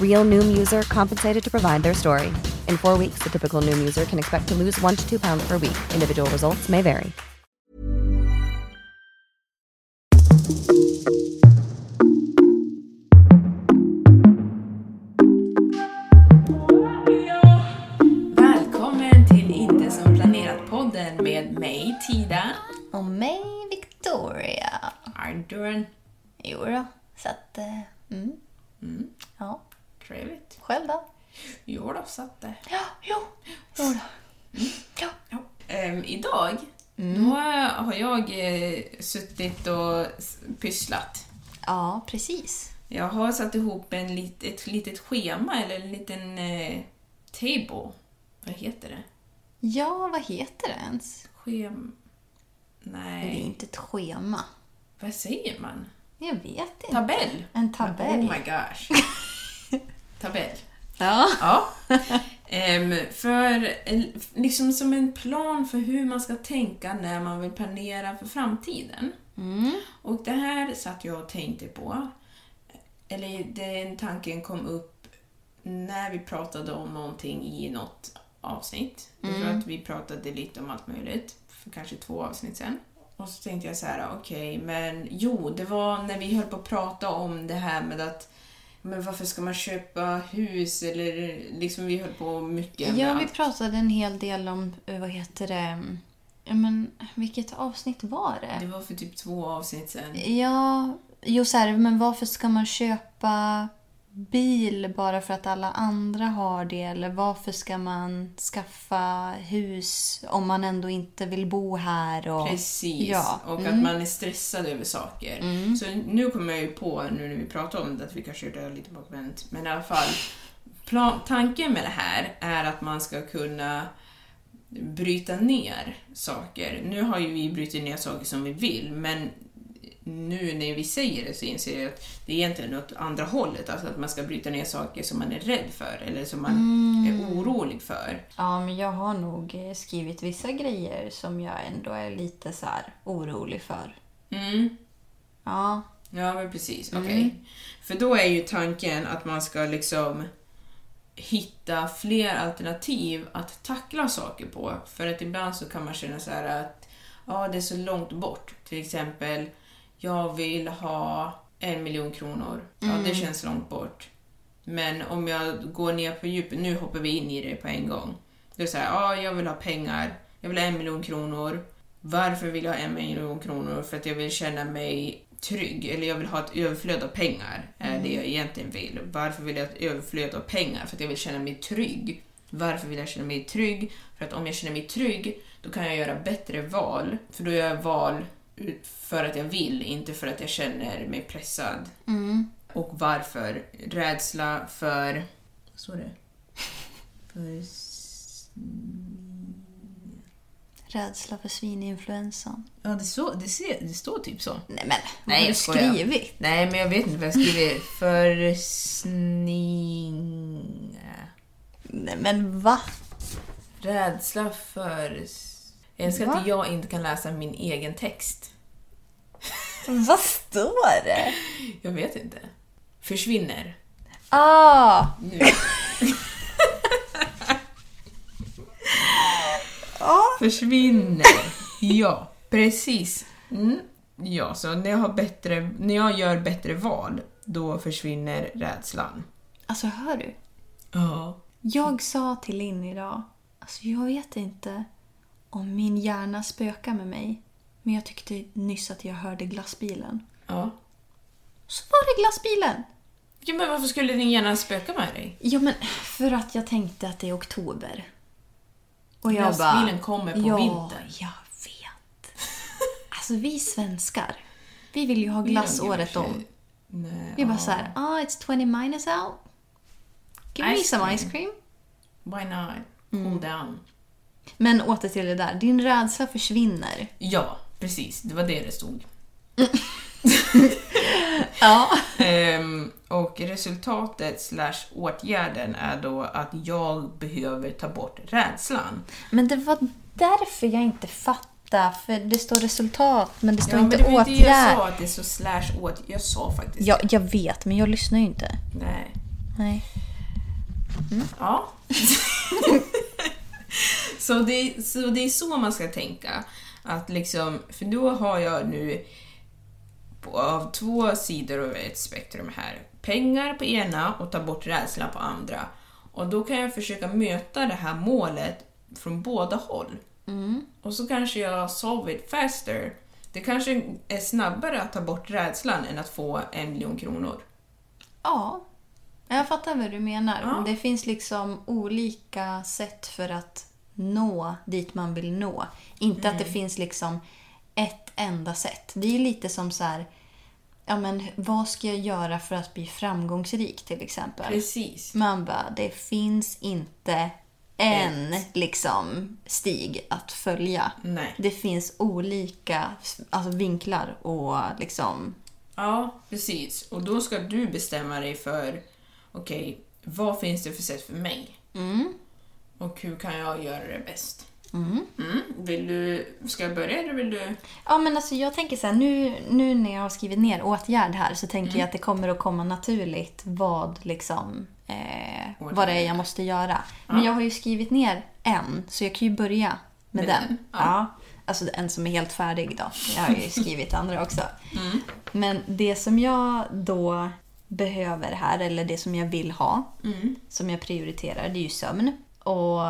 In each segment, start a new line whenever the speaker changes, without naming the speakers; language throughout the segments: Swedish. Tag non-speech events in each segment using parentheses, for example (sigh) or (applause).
Real Noom user compensated to provide their story. In four weeks, the typical Noom user can expect to lose one to two pounds per week. Individual results may vary.
Välkommen till Inte som planerat-podden med mig, Tida.
Och mig, Victoria.
Arduran.
Jo då, så att... eh, Mm. Ja,
Trevligt.
själv då?
Jo då, så att... eh,
Ja, jo, jo då. Ja. Mm.
Ja. Ehm, idag, då eh, har jag eh, suttit och s- pysslat.
ja, precis.
Jag har satt ihop en lit, ett litet schema, eller en liten eh, table. Vad heter det?
Ja, vad heter det ens?
Schem...
Det är
Nej,
inte ett schema.
vad säger man?
Jag vet inte.
Tabell?
En tabell.
Oh my
(laughs)
gosh. tabell.
Ja.
Ja. Ehm, för en- liksom som en plan för hur man ska tänka när man vill planera för framtiden. Och det här satt jag och tänkte på. Eller den tanken kom upp när vi pratade om någonting i något avsnitt. Jag
Mm.
tror att vi pratade lite om allt möjligt för kanske två avsnitt sen. Och så tänkte jag så här, okej, men jo, det var när vi höll på att prata om det här med att men varför ska man köpa hus eller liksom vi höll på mycket med
Ja, vi
allt.
pratade en hel del om, eh, vad heter det, ja men vilket avsnitt var
Det
det?
var för typ två avsnitt sen.
Ja, jo så här, men varför ska man köpa bil bara för att alla andra har det? Eller varför ska man skaffa hus om man ändå inte vill bo här? Och...
Precis,
Ja. Mm.
och att man är stressad över saker. Så nu kommer jag ju på, nu när vi pratar om det, att vi kanske rör lite bakvänt, men i alla fall. Plan, tanken med det här är att man ska kunna bryta ner saker. Nu har ju vi brutit ner saker som vi vill, men nu när vi säger det så inser jag att det är egentligen åt andra hållet, alltså att man ska bryta ner saker som man är rädd för eller som man
Mm.
är orolig för.
Ja, men jag har nog eh, skrivit vissa grejer som jag ändå är lite så här orolig för.
Mm.
Ja,
Ja, men precis. Okej. För då är ju tanken att man ska liksom hitta fler alternativ att tackla saker på. För att ibland så kan man känna så här att ja, det är så långt bort. Till exempel, jag vill ha en miljon kronor. Ja, det känns långt bort. Men om jag går ner på djupet, nu hoppar vi in i det på en gång. Det är så här, ja, jag vill ha pengar, jag vill ha en miljon kronor. Varför vill jag ha en miljon kronor? För att jag vill känna mig trygg, eller jag vill ha ett överflöd av pengar, är det jag egentligen vill. Varför vill jag ha ett överflöd av pengar? För att jag vill känna mig trygg. Varför vill jag känna mig trygg? För att om jag känner mig trygg, då kan jag göra bättre val. För då gör jag val ut- för att jag vill, inte för att jag känner mig pressad. Och varför? Rädsla för... Vad står det? För... s-
rädsla för svininfluensan.
Ja, det, så, det, ser, det står typ så.
Nej men, vad har
Nej,
du
jag skojar.
skrivit?
Nej, men jag vet inte vad jag skriver. För sning...
Nej men va?
Rädsla för... s- Jag älskar
Va?
att jag inte kan läsa min egen text.
(laughs) Vad står det?
Jag vet inte. Försvinner.
Ah! (laughs)
Försvinner. Ja, precis. Mm. Ja, så när jag, har bättre, när jag gör bättre val, då försvinner rädslan.
Alltså, hör du?
Ja.
Jag sa till Linn idag, alltså jag vet inte om min hjärna spökar med mig, men jag tyckte nyss att jag hörde glassbilen.
Ja.
Så var det glassbilen!
ja men varför skulle din hjärna spöka med dig?
Ja, men för att jag tänkte att det är oktober. Och
Glassbilen kommer på
ja,
vintern."
jag vet. Alltså vi svenskar, vi vill ju ha glass
Ja,
året
kanske.
om.
Nej,
Vi
ja.
bara såhär, ah it's 20 minus out. Give me
Ice
some
cream."
ice cream.
Why not? Cool
Mm.
down.
Men åter till det där, din rädsla försvinner.
Ja, precis. Det var det det stod.
Ja.
Ehm, och resultatet slash åtgärden är då att jag behöver ta bort rädslan.
Men det var därför jag inte fattade, för det står resultat men det står
men
inte
det var inte det jag
åtgärd.
sa att det är så slash åtgärd. Jag sa faktiskt
Ja, jag vet, men jag lyssnar ju inte.
Nej.
Nej.
Ja. (laughs) så, det, så det är så man ska tänka. Att liksom, för då har jag nu på, av två sidor av ett spektrum här. Pengar på ena och ta bort rädsla på andra. Och då kan jag försöka möta det här målet från båda håll. Och så kanske jag solve it faster. Det kanske är snabbare att ta bort rädslan än att få en miljon kronor.
Ja, jag fattar vad du menar.
Ja.
Det finns liksom olika sätt för att nå dit man vill nå. Inte att det
Mm.
finns liksom ett enda sätt. Det är lite som så här, ja men vad ska jag göra för att bli framgångsrik till exempel?
Precis.
Man bara, det finns inte en liksom, stig att följa.
Nej.
Det finns olika alltså, vinklar och liksom...
Ja, precis. Och då ska du bestämma dig för, okej, vad finns det för sätt för mig? Och hur kan jag göra det bäst? Mm. Vill du, ska jag börja eller vill du?
Ja, men alltså, jag tänker så här, nu, nu när jag har skrivit ner åtgärd här så tänker jag att det kommer att komma naturligt vad, liksom, eh, vad det är jag måste göra. Men jag har ju skrivit ner en, så jag kan ju börja med
Med
den.
den, ja.
Ja. Alltså en som är helt färdig då. Jag har ju skrivit andra också. Men det som jag då behöver här, eller det som jag vill ha, som jag prioriterar, det är ju sömn. Och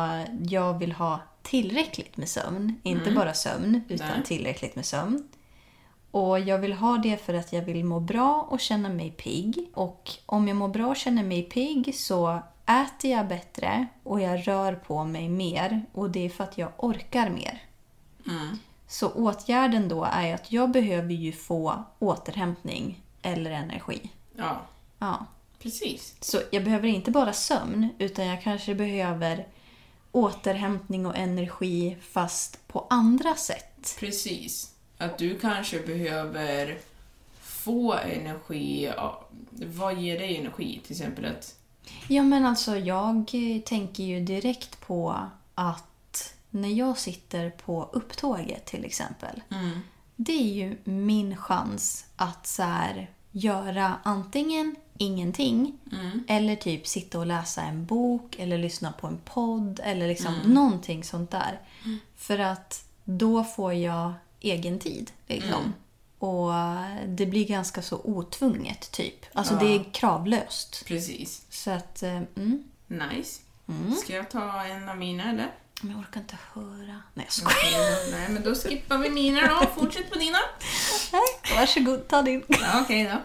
jag vill ha tillräckligt med sömn. Inte bara sömn, utan
Nej.
tillräckligt med sömn. Och jag vill ha det för att jag vill må bra och känna mig pigg. Och om jag mår bra och känner mig pigg så äter jag bättre och jag rör på mig mer. Och det är för att jag orkar mer. Så åtgärden då är att jag behöver ju få återhämtning eller energi.
Ja,
Ja.
precis.
Så jag behöver inte bara sömn utan jag kanske behöver återhämtning och energi fast på andra sätt.
Precis. Att du kanske behöver få energi, ja, vad ger dig energi? Till exempel att,
Ja men alltså jag eh, tänker ju direkt på att när jag sitter på upptåget till exempel. Det är ju min chans att så här, göra antingen ingenting eller typ sitta och läsa en bok eller lyssna på en podd eller liksom någonting sånt där. För att då får jag egen tid liksom. Och det blir ganska så otvunget typ. Alltså det är kravlöst.
precis.
Så att, eh, mm.
Nice. Ska jag ta en av mina eller?
Men jag orkar inte höra. Nej jag
Mm.
skojar.
Nej, men då skippar vi mina då. Fortsätt på dina.
Varsågod, ta din.
Ja, okej då.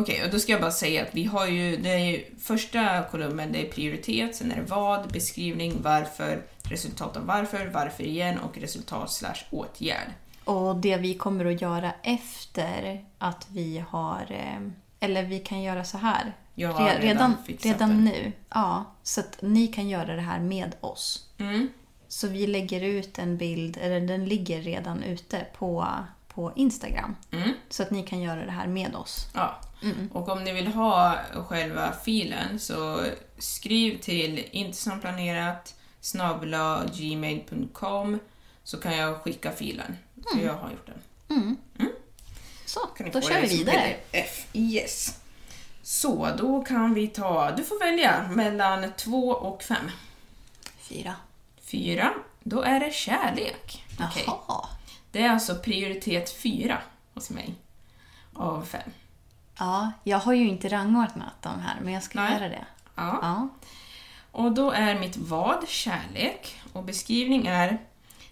Okej, och då ska jag bara säga att vi har ju, det är ju första kolumnen, det är prioritet, sen är det vad, beskrivning, varför, resultat av varför, varför igen och resultat slash åtgärd.
Och det vi kommer att göra efter att vi har... eh, Eller vi kan göra så här.
Jag har
Re-
redan
redan,
fixat
redan
det.
nu. Ja, så att ni kan göra det här med oss.
Mm.
Så vi lägger ut en bild, eller den ligger redan ute på, på Instagram.
Mm.
Så att ni kan göra det här med oss.
Ja. Och om ni vill ha själva filen så skriv till inte som planerat snabla gmail.com så kan jag skicka filen. För jag har gjort den.
Så,
Kan ni
då
få
kör
det
vi
som
vidare.
PDF. Yes. Så, då kan vi ta... Du får välja mellan två och fem.
Fyra.
Fyra, då är det kärlek. Okej.
Jaha.
Det är alltså prioritet fyra hos mig. Av fem.
Ja, jag har ju inte rangordnat de här, men jag ska
Nej.
göra det.
Ja.
Ja.
Och då är mitt vad kärlek och beskrivning är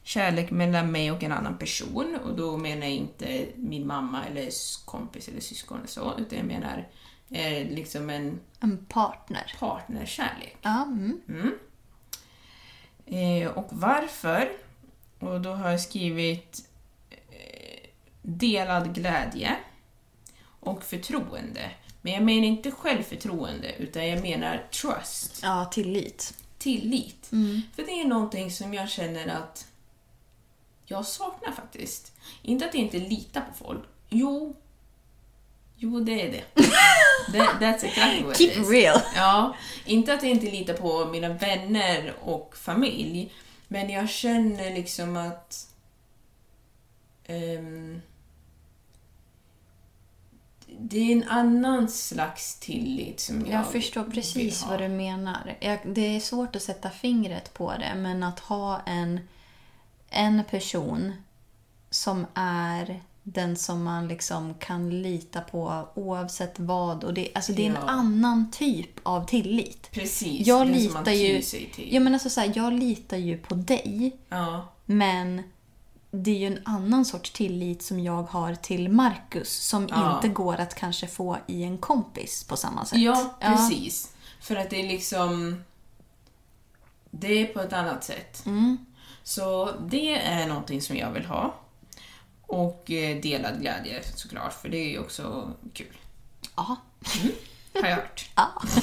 kärlek mellan mig och en annan person och då menar jag inte min mamma eller s- kompis eller syskon eller så utan jag menar eh, liksom en
En partner.
partnerkärlek.
Ja, mm.
Eh, och varför? Och då har jag skrivit eh, delad glädje och förtroende. Men jag menar inte självförtroende utan jag menar trust.
ja tillit.
tillit.
Mm.
För det är någonting som jag känner att jag saknar faktiskt. Inte att jag inte litar på folk. Jo, jo det är
(laughs)
det. That, that's exactly what it
Keep
is.
real.
Ja, inte att jag inte litar på mina vänner och familj, men jag känner liksom att... ehm, det är en annan slags tillit som jag
Jag förstår
vill
precis
ha.
vad du menar. Jag, det är svårt att sätta fingret på det, men att ha en, en person som är den som man liksom kan lita på oavsett vad. Och det, alltså det är en
Ja.
annan typ av tillit.
Precis,
Jag
den som man
litar,
tyr
ju,
sig till.
ja, men alltså så här, jag litar ju på dig,
Ja,
men det är ju en annan sorts tillit som jag har till Marcus som
Ja.
inte går att kanske få i en kompis på samma sätt.
ja precis. För att det är liksom... Det är på ett annat sätt.
Mm.
Så det är någonting som jag vill ha. Och eh, delad glädje såklart, för det är ju också kul.
Ja.
Har jag hört. (laughs)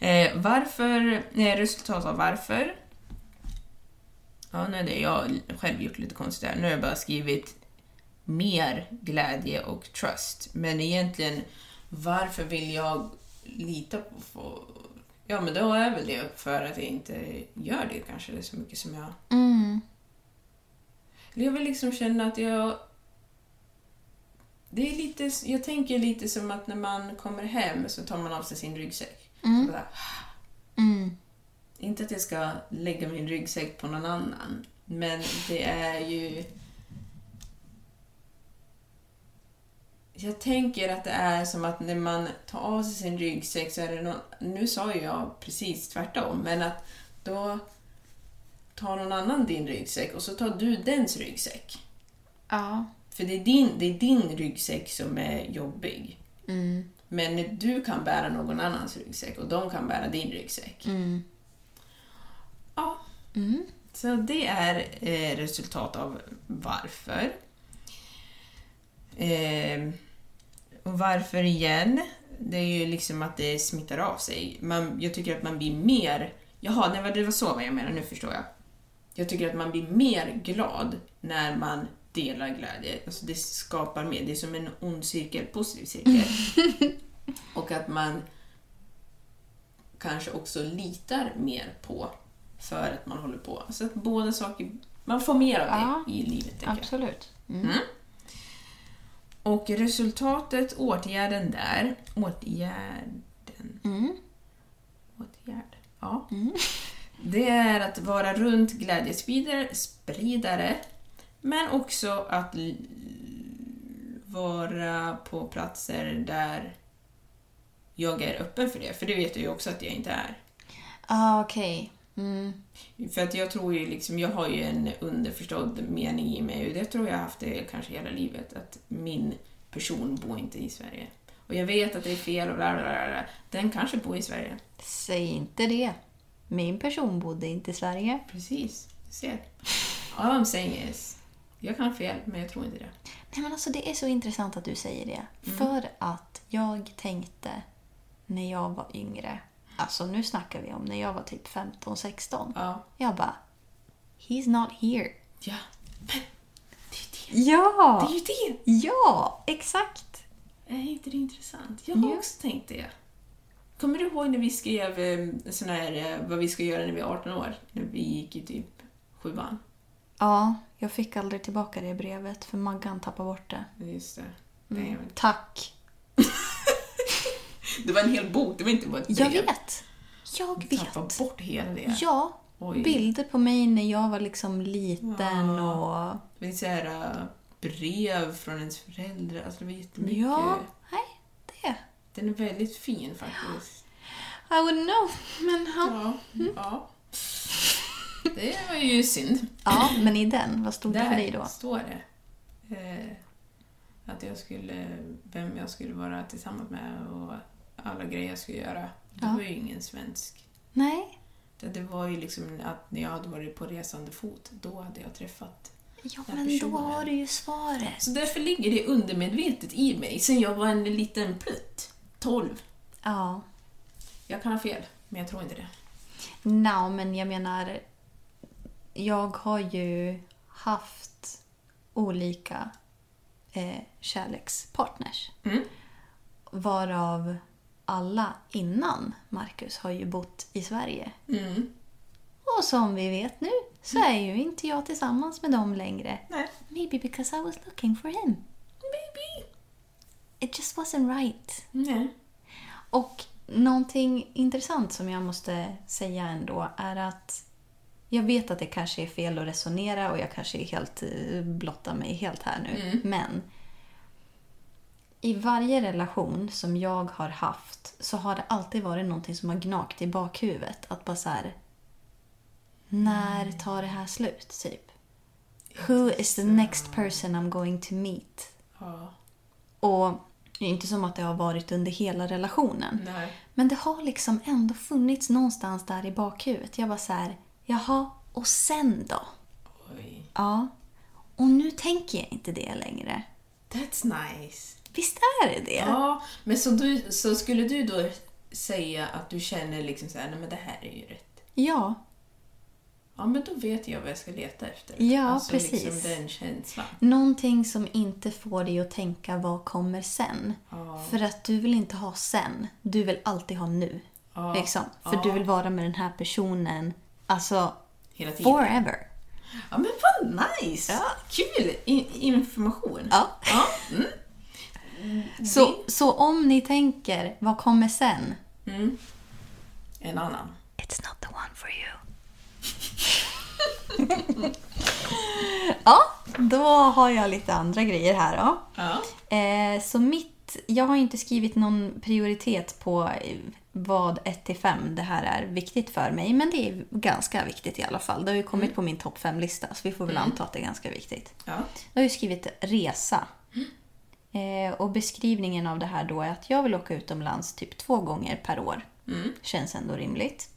eh, varför... Eh, resultat av varför. Ja, nej, det, jag har själv gjort lite konstigt här. Nu har jag bara skrivit mer glädje och trust. Men egentligen, varför vill jag lita på... på ja, men då är väl det för att jag inte gör det kanske det är så mycket som jag...
Mm.
Eller jag vill liksom känna att jag... Det är lite, jag tänker lite som att när man kommer hem så tar man av sig sin ryggsäck. Så bara, "Ah."
Mm.
inte att jag ska lägga min ryggsäck på någon annan, men det är ju... Jag tänker att det är som att när man tar av sig sin ryggsäck så är det någon... Nu sa ju jag precis tvärtom, men att då tar någon annan din ryggsäck och så tar du dens ryggsäck.
Ja.
För det är din, det är din ryggsäck som är jobbig. Men du kan bära någon annans ryggsäck och de kan bära din ryggsäck. Ja. Så det är eh, resultat av varför. Ehm, och varför igen? Det är ju liksom att det smittar av sig. Man, jag tycker att man blir mer... Jaha, nej, vad- det var så vad jag menar, nu förstår jag. Jag tycker att man blir mer glad när man delar glädje. Alltså det skapar mer, det är som en ond cirkel, positiv cirkel. Och att man kanske också litar mer på för att man håller på. Så att båda saker, man får mer av det i livet. tänker jag. Mm.
Absolut.
Och resultatet, åtgärden där, åtgärden, åtgärd, ja. Det är att vara runt glädjespridare, spridare, men också att l- vara på platser där jag är öppen för det, för det vet jag ju också att jag inte är.
Ah, okej. Mm.
För att jag tror ju liksom, jag har ju en underförstådd mening i mig och det tror jag har haft det kanske hela livet, att min person bor inte i Sverige. Och jag vet att det är fel och bla bla bla. bla. Den kanske bor i Sverige.
Säg inte det. Min person bodde inte i Sverige.
Precis, du ser. All I'm saying is, jag kan ha fel men jag tror inte det.
Nej, men alltså, det är så intressant att du säger det.
Mm.
För att jag tänkte när jag var yngre, alltså nu snackar vi om när jag var typ 15-16.
Ja.
Jag bara, he's not here.
Ja, men det är ju det.
Ja!
Det är ju det!
Ja, exakt.
Är inte det intressant? Jag har också tänkt det. Kommer du ihåg när vi skrev eh, sån här, eh, vad vi ska göra när vi är 18 år? När vi gick i typ sjuan?
Ja, jag fick aldrig tillbaka det brevet för Maggan tappade bort det.
Just det.
Mm.
Nej, men-
Tack.
Det var en hel bok, det var inte bara ett
Jag
brev.
vet. Jag
Tappa
vet.
bort hela det.
Ja.
Oj.
Bilder på mig när jag var liksom liten och...
Det var så här, äh, brev från ens föräldrar. Alltså det var jättemycket.
Ja. Nej, det.
Den är väldigt fin faktiskt.
I wouldn't know. Men ja. Mm.
Ja. ja. Det var ju synd.
Ja, men i den, vad stod det för dig
Där
då?
står det. Eh, att jag skulle, vem jag skulle vara tillsammans med och alla grejer jag skulle göra. Det var ju ingen svensk.
Nej,
Det, det var ju liksom att när jag hade varit på resande fot, då hade jag träffat.
ja
Den
men då
personen.
har du ju svaret.
Så därför ligger det undermedvetet i mig sen jag var en liten plutt. 12.
Ja.
Jag kan ha fel, men jag tror inte det.
No, men jag menar... Jag har ju haft olika eh, kärlekspartners.
Mm.
Varav alla innan Marcus har ju bott i Sverige.
Mm.
Och som vi vet nu så är ju inte jag tillsammans med dem längre.
Nej.
Maybe because I was looking for him.
Maybe.
It just wasn't right.
Nej.
Och någonting intressant som jag måste säga ändå är att jag vet att det kanske är fel att resonera och jag kanske är helt eh, blottar mig helt här nu. Men i varje relation som jag har haft så har det alltid varit någonting som har gnagt i bakhuvudet. Att bara så här. När tar det här slut? Typ. Who is the next person I'm going to meet?
Ja.
Och det är inte som att det har varit under hela relationen.
Nej.
Men det har liksom ändå funnits någonstans där i bakhuvudet. Jag bara så här, jaha, och sen då?
Oj.
Ja. Och nu tänker jag inte det längre.
That's nice.
Visst är det det?
Ja, men så, du, så skulle du då säga att du känner liksom så här, nej men det här är ju rätt.
Ja.
Ja, men då vet jag vad jag ska leta efter.
Ja,
alltså,
precis.
Liksom den känslan.
Någonting som inte får dig att tänka vad kommer sen. För att du vill inte ha sen. Du vill alltid ha nu. Liksom. För du vill vara med den här personen, alltså
Hela tiden.
forever.
Ja, men vad nice! Kul I, information.
Ja.
ja. Mm.
Så, så om ni tänker, vad kommer sen?
En annan.
It's not the one for you. ja, då har jag lite andra grejer här då.
Ja.
Eh, så mitt, jag har inte skrivit någon prioritet på eh, vad 1-5 det här är viktigt för mig, men det är ganska viktigt i alla fall. Det har ju kommit på min topp 5-lista, så vi får väl anta att det är ganska viktigt.
Ja.
Jag har ju skrivit resa. Eh, och beskrivningen av det här då är att jag vill åka utomlands typ två gånger per år. Känns ändå rimligt.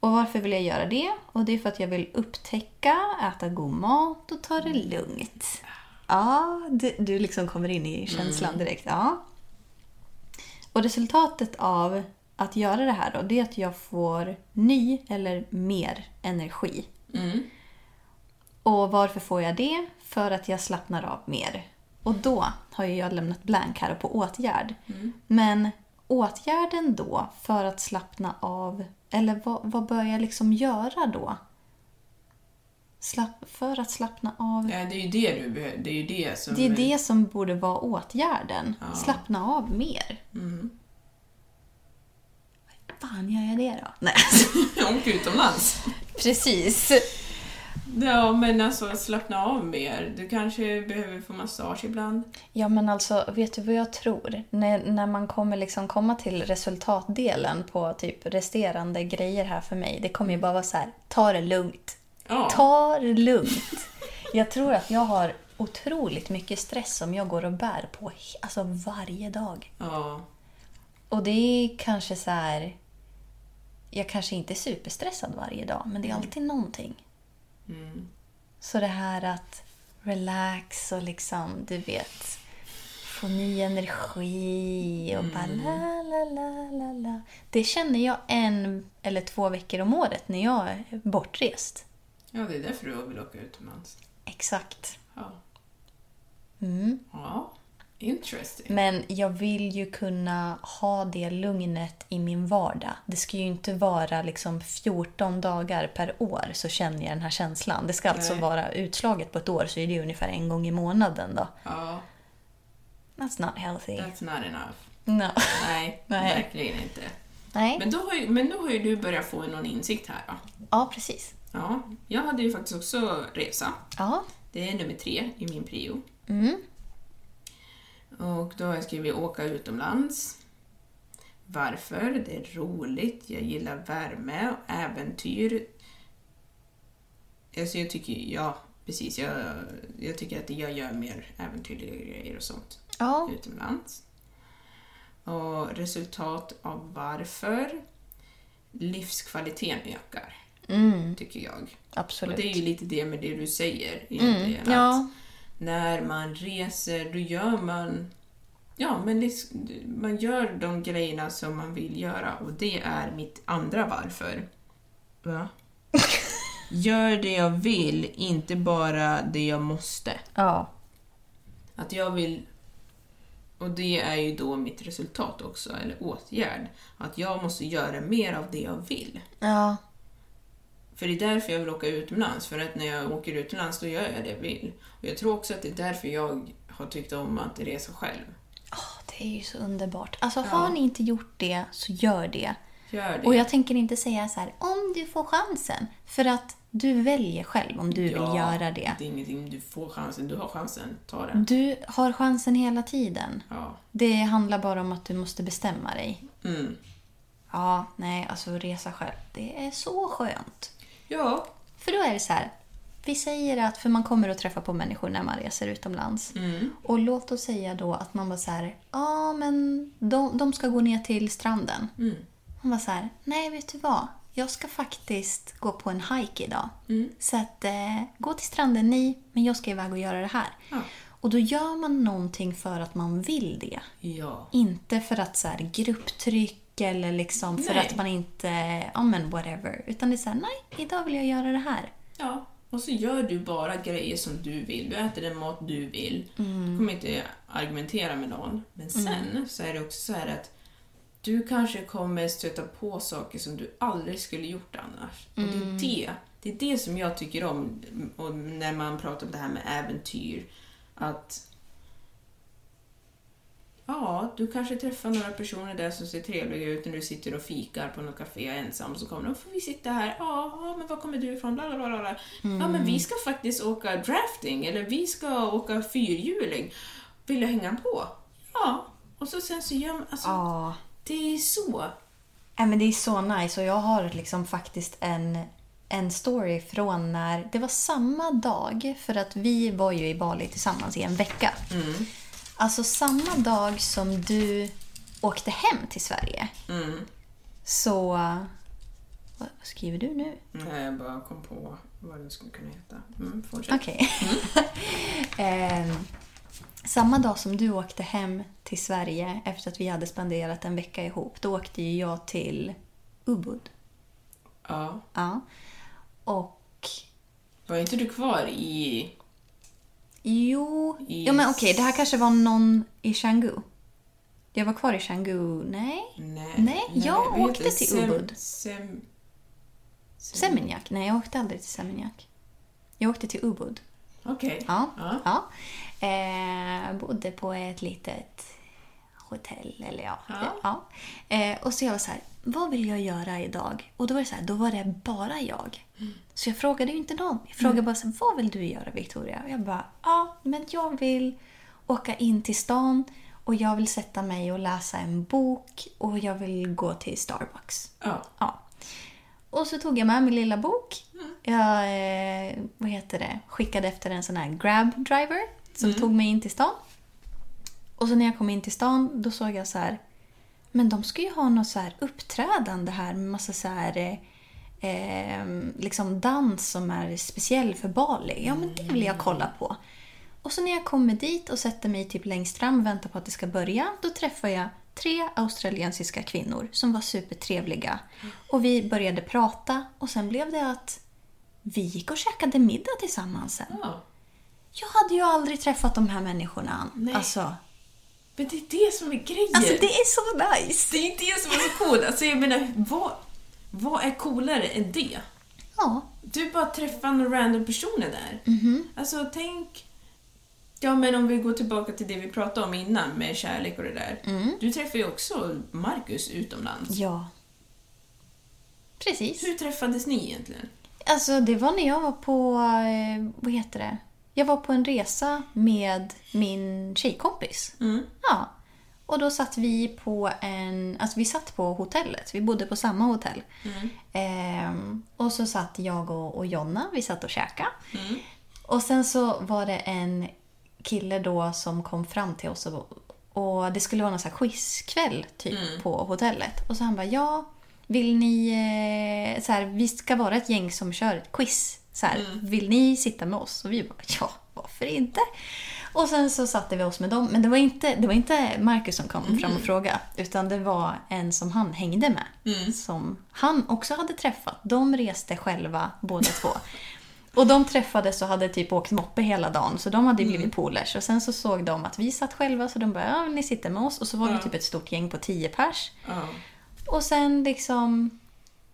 Och varför vill jag göra det? Och det är för att jag vill upptäcka, äta god mat och ta det lugnt. Ja, du, du liksom kommer in i känslan direkt. Ja. Och resultatet av att göra det här då, det är att jag får ny eller mer energi. Och varför får jag det? För att jag slappnar av mer. Och då har ju jag lämnat blank här på åtgärd. Men åtgärden då för att slappna av, eller vad, vad bör jag liksom göra då? Slapp, för att slappna av?
Nej, det är ju det du behöver. Det är ju det som...
Det är det som borde vara åtgärden. Slappna av mer. Fan, gör jag det då? Nej.
(laughs) Åka utomlands.
(laughs) Precis.
Ja, men alltså slappna av mer. Du kanske behöver få massage ibland.
Ja, men alltså, vet du vad jag tror? När, när man kommer liksom komma till resultatdelen på typ resterande grejer här för mig, det kommer ju bara vara så här, ta det lugnt.
Ja.
Ta det lugnt. Jag tror att jag har otroligt mycket stress som jag går och bär på he- alltså varje dag.
Ja.
Och det är kanske så här... Jag kanske inte är superstressad varje dag, men det är alltid någonting. Så det här att relax och liksom, du vet, få ny energi och bara la, la, la, la, la. Det känner jag en eller två veckor om året när jag är bortrest.
ja, det är därför du vill åka utomlands.
Exakt.
Ja. Ja. Interesting.
Men jag vill ju kunna ha det lugnet i min vardag. Det ska ju inte vara liksom 14 dagar per år så känner jag den här känslan. Det ska alltså
Nej.
vara utslaget på ett år så är det ungefär en gång i månaden då.
Ja,
That's not healthy.
that's not enough.
No.
Nej,
(laughs) Nej.
verkligen inte.
Nej.
Men då, har ju, men då har ju du börjat få någon insikt här va?
Ja, precis.
Ja, jag hade ju faktiskt också resa.
Ja. Mm.
Det är nummer tre i min prio. Och då har jag skrivit åka utomlands. Varför? Det är roligt, jag gillar värme och äventyr. Alltså jag tycker, ja precis, jag, jag tycker att jag gör mer äventyrliga grejer och sånt
Ja.
utomlands. Och resultat av varför? Livskvaliteten ökar, tycker jag.
Mm. Absolut. Mm,
Och det är ju lite det med det du säger. egentligen, att
ja.
När man reser, då gör man Ja, men livs- man gör de grejerna som man vill göra och det är mitt andra varför. Va? Gör det jag vill, inte bara det jag måste.
Ja.
Att jag vill... Och det är ju då mitt resultat också, eller åtgärd. Att jag måste göra mer av det jag vill.
Ja.
För det är därför jag vill åka utomlands, för att när jag åker utomlands då gör jag det jag vill. Och jag tror också att det är därför jag har tyckt om att resa själv.
Åh, det är ju så underbart. Alltså har ni inte gjort det så gör det.
Gör det.
Och jag tänker inte säga så här om du får chansen. För att du väljer själv om du vill göra det.
Det är ingenting, du får chansen, du har chansen, ta den.
Du har chansen hela tiden.
Ja.
Det handlar bara om att du måste bestämma dig.
Mm.
Ja, nej, alltså resa själv. Det är så skönt.
Ja.
För då är det så här. Vi säger att, för man kommer att träffa på människor när man reser utomlands.
Mm.
Och låt oss säga då att man var så här, ja men de, de ska gå ner till stranden.
Mm.
Man var så här, nej vet du vad? Jag ska faktiskt gå på en hike idag.
Mm.
Så att, eh, gå till stranden ni, men jag ska iväg och göra det här.
Ja.
Och då gör man någonting för att man vill det.
Ja.
Inte för att så här, grupptryck eller liksom för
Nej.
att man inte, ja men whatever. Utan det är så här, nej, idag vill jag göra det här.
Ja, och så gör du bara grejer som du vill. Du äter den mat du vill.
Mm.
Du kommer inte argumentera med någon. Men sen så är det också så här att du kanske kommer stöta på saker som du aldrig skulle gjort annars. Och det är det, det är det som jag tycker om och när man pratar om det här med äventyr. Att Ja, du kanske träffar några personer där som ser trevliga ut när du sitter och fikar på något café ensam. Så kommer de, får vi sitta här? Ja, ja men var kommer du ifrån? Bla, bla, bla, bla. Ja, men vi ska faktiskt åka drafting eller vi ska åka fyrhjuling. Vill du hänga på? Ja. Och så sen så gör man, alltså,
Ja.
det är så.
Nej, men det är så nice och jag har liksom faktiskt en, en story från när det var samma dag för att vi var ju i Bali tillsammans i en vecka. Alltså samma dag som du åkte hem till Sverige så... Vad vad skriver du nu?
Nej, jag bara kom på vad den skulle kunna heta. Mm, fortsätt.
Okej. (laughs) Ehm, samma dag som du åkte hem till Sverige efter att vi hade spenderat en vecka ihop, då åkte ju jag till Ubud.
Ja.
Ja. Och...
Var inte du kvar i...
Jo... Ja, men okej, det här kanske var någon i Canggu. Jag var kvar i Canggu. Nej.
Nej,
Nej, jag
vad heter
åkte
det?
till
Sem-
Ubud.
Sem-
Seminyak. Nej, jag åkte aldrig till Seminyak. Jag åkte till Ubud.
Okej.
Ja. ja. Eh, bodde på ett litet hotell. Eller ja.
Ja.
ja. Eh, och så jag var så här, vad vill jag göra idag? Och då var det så här, då var det bara jag. Så jag frågade ju inte någon. Jag frågade bara så här, vad vill du göra Victoria? Och jag bara, ja men jag vill åka in till stan och jag vill sätta mig och läsa en bok och jag vill gå till Starbucks.
ja.
Ja. Och så tog jag med min lilla bok. Jag eh, vad heter det? skickade efter en sån här grab driver som tog mig in till stan. Och så när jag kom in till stan då såg jag så här. Men de ska ju ha något så här uppträdande här med massa så här eh, eh, liksom dans som är speciell för Bali. Ja men det vill jag kolla på. Och så när jag kommer dit och sätter mig typ längst fram och väntar på att det ska börja, då träffar jag tre australiensiska kvinnor som var supertrevliga. Och vi började prata och sen blev det att vi gick och käkade middag tillsammans sen.
ja.
Jag hade ju aldrig träffat de här människorna. Ann. Alltså,
Men det är det som är grejen.
Alltså det är så nice!
Det är inte det som är så coolt. Alltså jag menar, vad, vad är coolare än det?
Ja.
Du bara träffar några random personer där.
Mhm.
Alltså tänk... Ja men om vi går tillbaka till det vi pratade om innan med kärlek och det där.
Mm.
Du träffar ju också Marcus utomlands.
Ja. Precis.
Hur träffades ni egentligen?
Alltså det var när jag var på, eh, vad heter det? Jag var på en resa med min tjejkompis. Ja. Och då satt vi på en, alltså vi satt på hotellet, vi bodde på samma hotell. Ehm, och så satt jag och, och Jonna, vi satt och käkade. Och sen så var det en kille då som kom fram till oss och, och det skulle vara någon så här quizkväll typ på hotellet. Och så han bara ja, vill ni, eh, så här, vi ska vara ett gäng som kör ett quiz. Så här, Vill ni sitta med oss? Och vi bara ja, varför inte? Och sen så satte vi oss med dem. Men det var inte, det var inte Marcus som kom fram och frågade. Utan det var en som han hängde med. Som han också hade träffat. De reste själva båda två. Och de träffades och hade typ åkt moppe hela dagen, så de hade ju blivit polers. Och sen så såg de att vi satt själva, så de bara ja, ni sitter med oss. Och så var vi typ ett stort gäng på tio pers.
Ja.
Och sen liksom,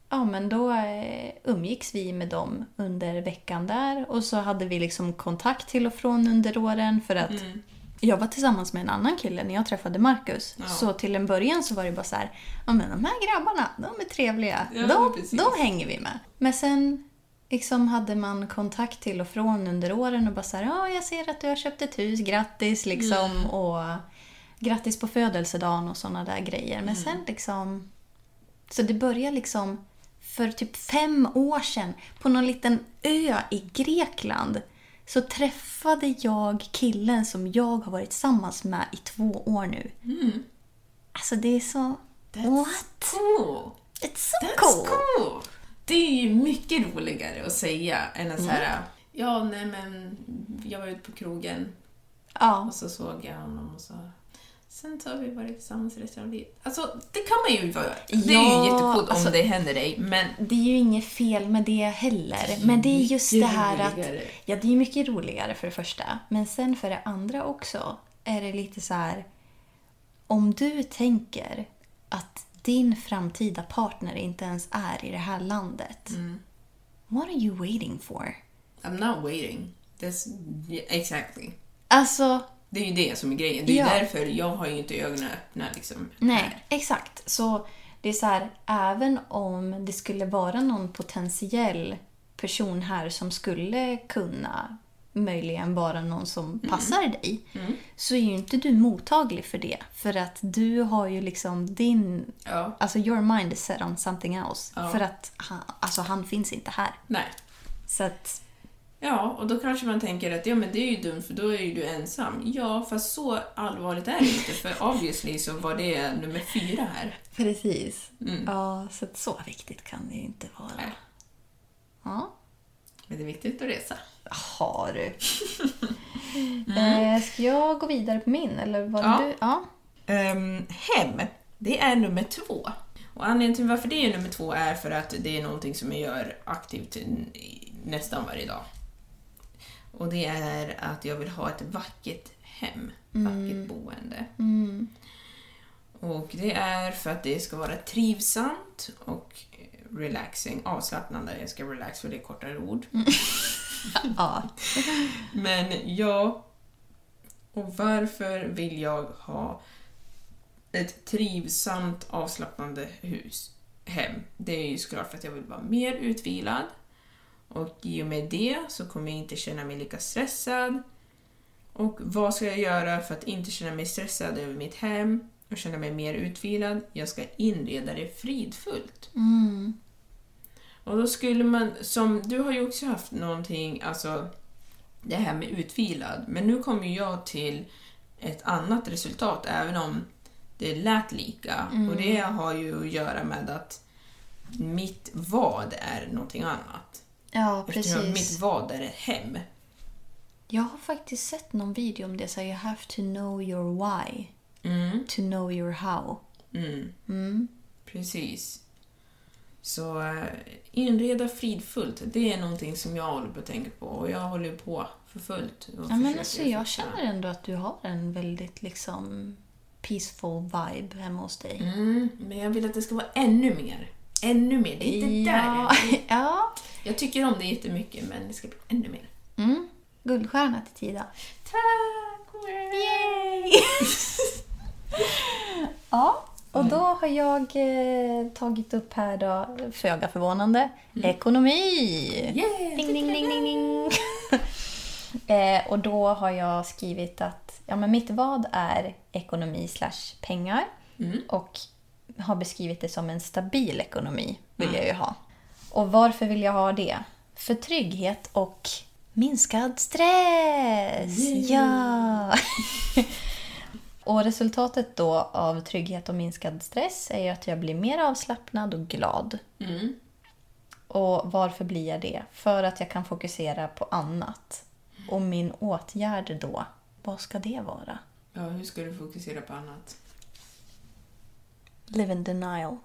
ja men då eh, umgicks vi med dem under veckan där. Och så hade vi liksom kontakt till och från under åren för att
Mm.
jag var tillsammans med en annan kille när jag träffade Marcus. Så till en början så var det bara så här, ja men de här grabbarna, de är trevliga.
Ja,
de,
precis.
de hänger vi med. Men sen liksom hade man kontakt till och från under åren och bara så här, ja jag ser att du har köpt ett hus, grattis liksom.
Mm.
Och grattis på födelsedagen och sådana där grejer. Men
Mm.
sen liksom så det börjar liksom för typ fem år sedan på någon liten ö i Grekland så träffade jag killen som jag har varit tillsammans med i två år nu.
Mm.
Alltså det är så... What?
Cool.
It's so
That's
cool!
cool. Det är ju mycket roligare att säga än att säga
Mm.
ja nej men jag var ute på krogen
Ja,
och så såg jag honom och så Sen så har vi varit tillsammans resten av livet. Alltså, det kan man ju vara. det är
Ja,
ju jättecoolt
alltså-
om det händer dig, men
det är ju inget fel med det heller. Men det är just det
mycket
här att...
roligare.
Ja, det är mycket roligare för det första. Men sen för det andra också är det lite så här... Om du tänker att din framtida partner inte ens är i det här landet. What are you waiting for?
I'm not waiting. That's, yeah, exactly.
Alltså,
Det är ju det som är grejen. Det är
Ja.
ju därför jag har ju inte ögonen öppna liksom.
Nej, exakt. Så det är så här, även om det skulle vara någon potentiell person här som skulle kunna möjligen vara någon som passar dig, så är ju inte du mottaglig för det. För att du har ju liksom din...
Ja.
Alltså your mind is set on something else. För att han, alltså, han finns inte här.
Nej.
Så att,
Ja, och då kanske man tänker att ja, men det är ju dumt för då är ju du ensam. Ja, fast så allvarligt är det inte för obviously så var det nummer fyra här.
precis. Ja, så att så viktigt kan det ju inte vara.
Nej.
Ja.
Men det är viktigt att resa.
Har du.
(laughs)
Eh, ska jag gå vidare på min? Eller var det
Mm. Ja.
du? Ja.
Ehm, hem, det är nummer två. Och anledningen till varför det är nummer två är för att det är någonting som jag gör aktivt n- i- nästan varje dag. Och det är att jag vill ha ett vackert hem, vackert boende. Mm. Och det är för att det ska vara trivsamt och relaxing, avslappnande. Jag ska relax för det är kortare ord.
ja.
Men ja, och varför vill jag ha ett trivsamt avslappnande hus, hem? Det är ju såklart för att jag vill vara mer utvilad och i och med det så kommer jag inte känna mig lika stressad. Och vad ska jag göra för att inte känna mig stressad över mitt hem och känna mig mer utvilad? Jag ska inreda det fridfullt. Och då skulle man, som du har ju också haft någonting, alltså det här med utvilad. Men nu kommer ju jag till ett annat resultat även om det lät lika. Och det
Mm.
har ju att göra med att mitt vad är någonting annat.
ja,
Eftersom mitt
precis.
vad är ett hem.
Jag har faktiskt sett någon video om det. Så här, you have to know your why. To know your how.
Mm. Precis. Så eh, inreda fridfullt, det är någonting som jag håller på att tänka på och jag håller på för fullt. och
Ja, men
försöker
alltså, jag
fixa.
känner ändå att du har en väldigt liksom peaceful vibe hemma hos dig.
Mm, men jag vill att det ska vara ännu mer. Ännu mer. Det är inte
ja,
där.
(laughs) ja.
Jag tycker om det jättemycket, men det ska bli ännu mer.
Mm. Guldstjärna till Tida.
Tack! Yay!
Ja, och då har jag eh, tagit upp här då, föga förvånande, ekonomi!
Yeah.
Ding, ding, ding, ding, ding. (laughs) eh, och då har jag skrivit att ja, men mitt vad är ekonomi slash pengar och har beskrivit det som en stabil ekonomi vill jag ju ha. Och varför vill jag ha det? För trygghet och minskad stress! Ja! (laughs) Och resultatet då av trygghet och minskad stress är ju att jag blir mer avslappnad och glad. Och varför blir jag det? För att jag kan fokusera på annat. Och min åtgärd då, vad ska det vara?
Ja, hur ska du fokusera på annat?
Live in denial.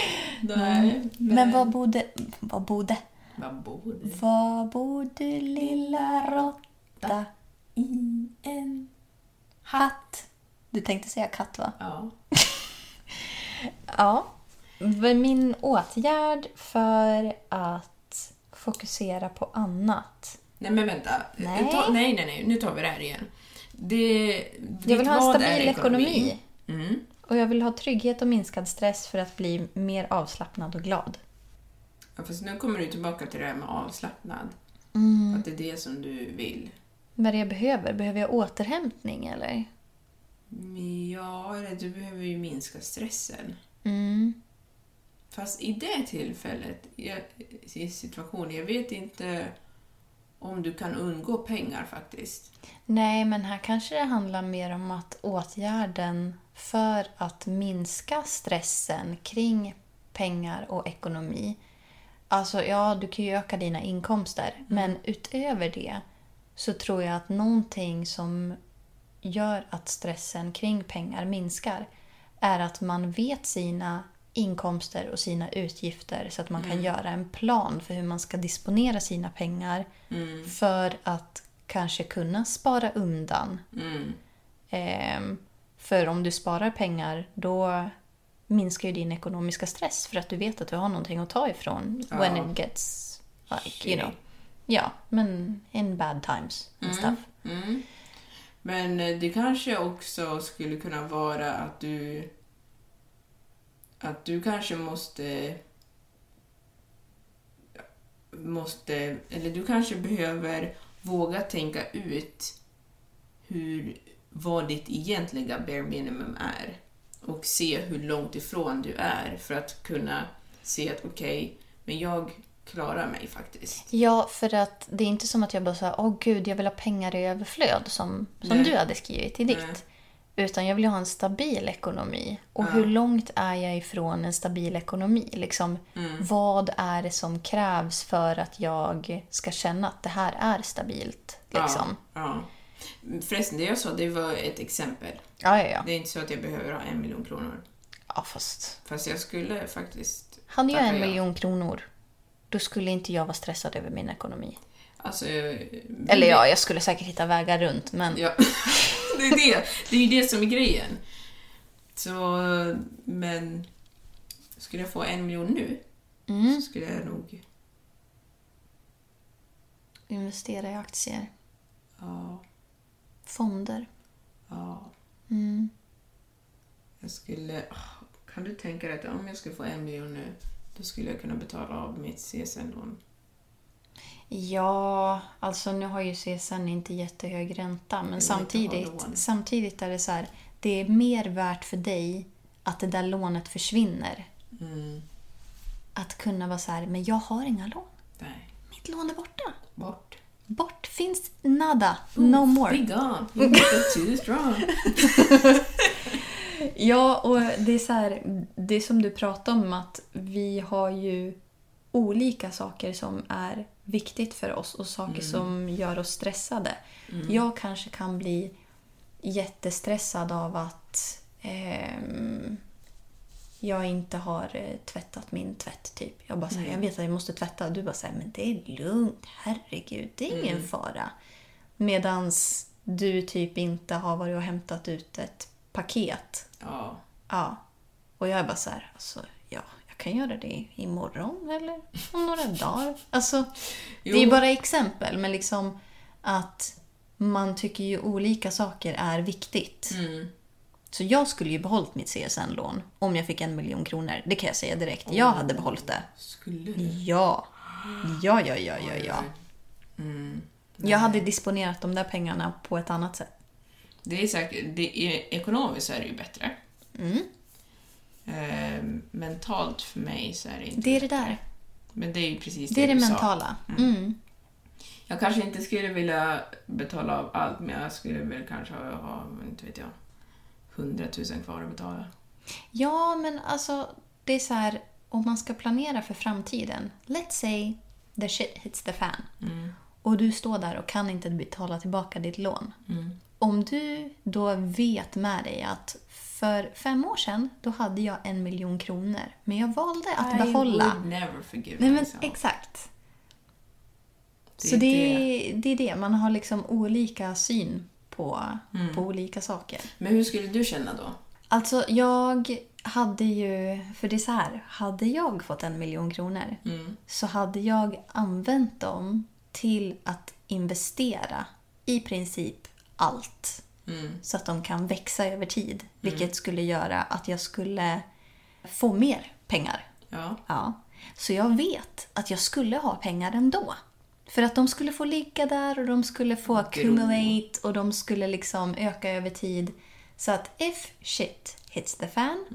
(laughs) Nej.
Men vad borde... Vad borde?
Vad bor du?
Vad borde lilla råtta
I en...
hatt? Du tänkte säga katt va?
Ja.
Ja. Men Min åtgärd för att fokusera på annat.
Nej men vänta.
Nej.
Ta, nej, nej, nej. Nu tar vi det här igen. Det,
Jag vill ha en
vad är
stabil ekonomi.
Mm.
Och jag vill ha trygghet och minskad stress för att bli mer avslappnad och glad.
Ja, fast nu kommer du tillbaka till det här med avslappnad. Att det är det som du vill.
Vad är det jag behöver? Behöver jag återhämtning eller?
Men Ja, eller du behöver ju minska stressen. Fast i det tillfället, i, i situationen, jag vet inte om du kan undgå pengar faktiskt.
Nej, men här kanske det handlar mer om att åtgärden för att minska stressen kring pengar och ekonomi. Alltså, ja, du kan ju öka dina inkomster, men utöver det så tror jag att någonting som gör att stressen kring pengar minskar är att man vet sina inkomster och sina utgifter så att man kan göra en plan för hur man ska disponera sina pengar för att kanske kunna spara undan. Ehm, för om du sparar pengar då minskar ju din ekonomiska stress för att du vet att du har någonting att ta ifrån when it gets like, you know. Ja, men in bad times and stuff.
Men eh, det kanske också skulle kunna vara att du att du kanske måste måste, eller du kanske behöver våga tänka ut hur, vad ditt egentliga bare minimum är och se hur långt ifrån du är för att kunna se att okej, men jag klarar mig faktiskt.
Ja, för att det är inte som att jag bara säger åh gud, jag vill ha pengar i överflöd som, som du hade skrivit i ditt. Utan jag vill ju ha en stabil ekonomi. Och hur långt är jag ifrån en stabil ekonomi? Liksom,
Mm.
Vad är det som krävs för att jag ska känna att det här är stabilt? Liksom?
Ja. Förresten, det jag sa det var ett exempel.
Ja, ja, ja.
Det är inte så att jag behöver ha en miljon kronor.
ja fast
Fast jag skulle faktiskt...
hade jag
Tackar
en
ja.
miljon kronor, då skulle inte jag vara stressad över min ekonomi.
Alltså... eh,
Eller ja, jag skulle säkert hitta vägar runt, men
Ja. (laughs) det är det. Det är ju det som är grejen. Så, men... Skulle jag få en miljon nu
Mm.
så skulle jag nog...
investera i aktier,
Ja,
fonder.
ja.
Mm.
Jag skulle... ah, Kan du tänka dig att om jag skulle få en miljon nu då skulle jag kunna betala av mitt CSN-lån.
Ja, alltså nu har ju CSN inte jättehög ränta, men samtidigt,
ha lån.
samtidigt är det så här, det är mer värt för dig att det där lånet försvinner. Att kunna vara så här, men jag har inga lån.
Nej,
Mitt lån är borta.
bort.
Bort finns nada.
Oh,
No more.
Be gone. You're not too strong.
Ja, och det är så här, det som du pratar om att vi har ju olika saker som är viktigt för oss och saker som gör oss stressade. Jag kanske kan bli jättestressad av att ehm, jag inte har eh, tvättat min tvätt. typ. Jag bara säger, jag vet att jag måste tvätta. Du bara säger, men det är lugnt. Herregud, det är ingen fara. Medans du typ inte har varit och hämtat ut ett paket.
Ja.
Ja. Och jag är bara så här, alltså, ja, jag kan göra det imorgon eller om några dagar. Alltså,
Jo.
det är bara exempel, men liksom att man tycker ju olika saker är viktigt. Så jag skulle ju behållit mitt CSN-lån om jag fick en miljon kronor. Det kan jag säga direkt. Jag hade behållit det.
Skulle du?
Ja. Ja, ja, ja, ja, ja. Mm. Jag hade disponerat de där pengarna på ett annat sätt.
Det är säkert, det är, ekonomiskt så är det ju bättre.
Mm.
Eh, mentalt för mig så är det inte
Det är det där.
Men det är ju precis
Det är det
du sa.
mentala. Mm.
Jag kanske inte skulle vilja betala av allt, men jag skulle väl kanske ha, ha inte vet jag, 100 000 kvar att betala.
Ja, men alltså det är så här om man ska planera för framtiden. Let's say the shit hits the fan.
Mm.
Och du står där och kan inte betala tillbaka ditt lån.
Mm.
Om du då vet med dig att för fem år sedan då hade jag en miljon kronor. Men jag valde att behålla.
I would never forgive
Nej, men
myself.
exakt.
Det är
så det, är- det är det. Man har liksom olika syn på,
Mm.
på olika saker.
Men hur skulle du känna då?
Alltså jag hade ju, för det är så här, hade jag fått en miljon kronor så hade jag använt dem till att investera i princip allt. Så att de kan växa över tid. Vilket skulle göra att jag skulle få mer pengar.
Ja.
Ja. Så jag vet att jag skulle ha pengar ändå. För att de skulle få ligga där och de skulle få accumulate och de skulle liksom öka över tid. Så att if shit hits the fan,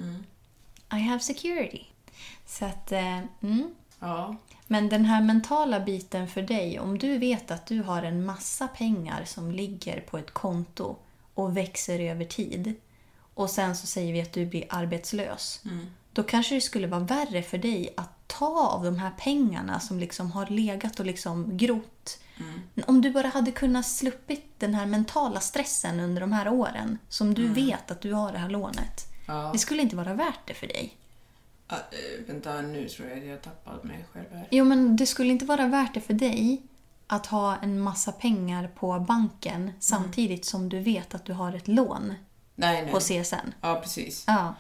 I have security. Så att, eh, mm.
Ja.
Men den här mentala biten för dig, om du vet att du har en massa pengar som ligger på ett konto och växer över tid och sen så säger vi att du blir arbetslös. Då kanske det skulle vara värre för dig att ta av de här pengarna som liksom har legat och liksom grott. Om du bara hade kunnat sluppit den här mentala stressen under de här åren som du vet att du har det här lånet.
Ja.
Det skulle inte vara värt det för dig.
Ah, eh, vänta, nu tror jag att jag tappat mig själv här.
Jo, men det skulle inte vara värt det för dig att ha en massa pengar på banken samtidigt som du vet att du har ett lån
Nej, nej.
på CSN.
Ja, precis.
Ja,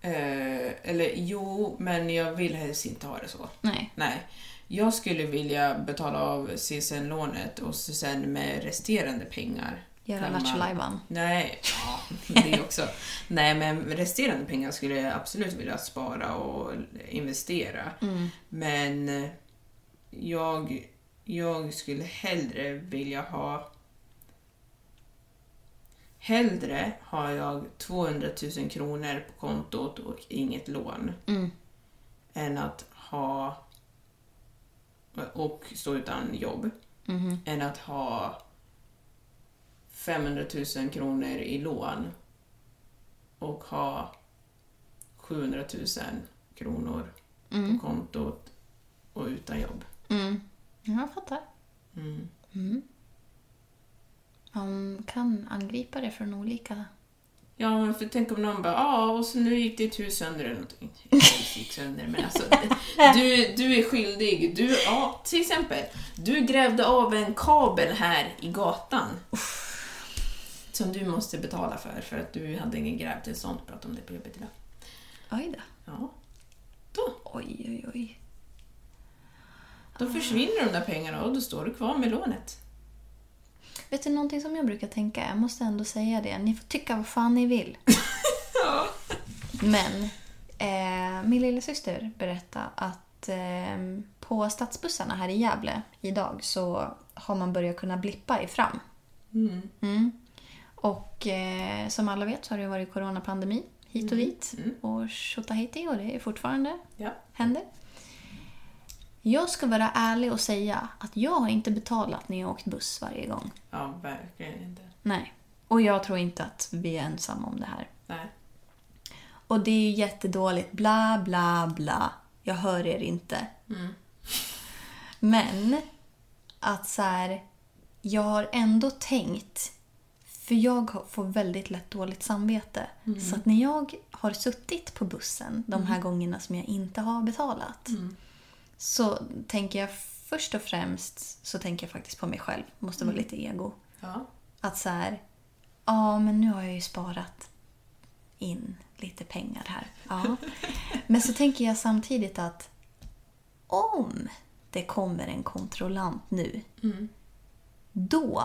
Eh, eller jo, men jag vill helst inte ha det så.
nej.
Nej. Jag skulle vilja betala av CSN-lånet och så sen med resterande pengar.
Göra
kan man-
Lattjo-lajban.
Nej, ja, det också. Nej, men resterande pengar skulle jag absolut vilja spara och investera. Men eh, jag, jag skulle hellre vilja ha... Hellre har jag 200 000 kronor på kontot och inget lån än att ha och stå utan jobb än att ha 500 000 kronor i lån och ha 700 000 kronor på kontot och utan jobb.
Ja, jag fattar. Mm. Man kan angripa det från olika...
Ja, men för tänk om någon bara ja, och så nu gick ditt hus sönder eller någonting. (laughs) Hus gick sönder, men alltså du, du är skyldig. Du, ja, till exempel, du grävde av en kabel här i gatan. Som du måste betala för, för att du hade ingen grävtillstånd. Prata om det på jobbet idag.
Oj då.
Ja. Då,
Oj, oj, oj.
då försvinner de där pengarna och då står du kvar med lånet.
Vet du någonting som jag brukar tänka? Jag måste ändå säga det. Ni får tycka vad fan ni vill. Men eh, min lilla syster berättade att eh, på stadsbussarna här i Gävle idag så har man börjat kunna blippa i fram. Mm. Och eh, som alla vet så har det varit coronapandemi hit och dit och tjottahejti och det är fortfarande
Ja.
händer. Jag ska vara ärlig och säga att jag har inte betalat när jag har åkt buss varje gång.
Ja, verkligen inte.
Nej. Och jag tror inte att vi är ensamma om det här.
Nej.
Och det är ju jättedåligt. Bla, bla, bla. Jag hör er inte. Men att så här, jag har ändå tänkt, för jag har- får väldigt lätt dåligt samvete. Så att när jag har suttit på bussen de här gångerna som jag inte har betalat så tänker jag först och främst så tänker jag faktiskt på mig själv. Måste vara lite ego.
Ja.
Att så här, ja men nu har jag ju sparat in lite pengar här. Ja. Men så tänker jag samtidigt att om det kommer en kontrollant nu, då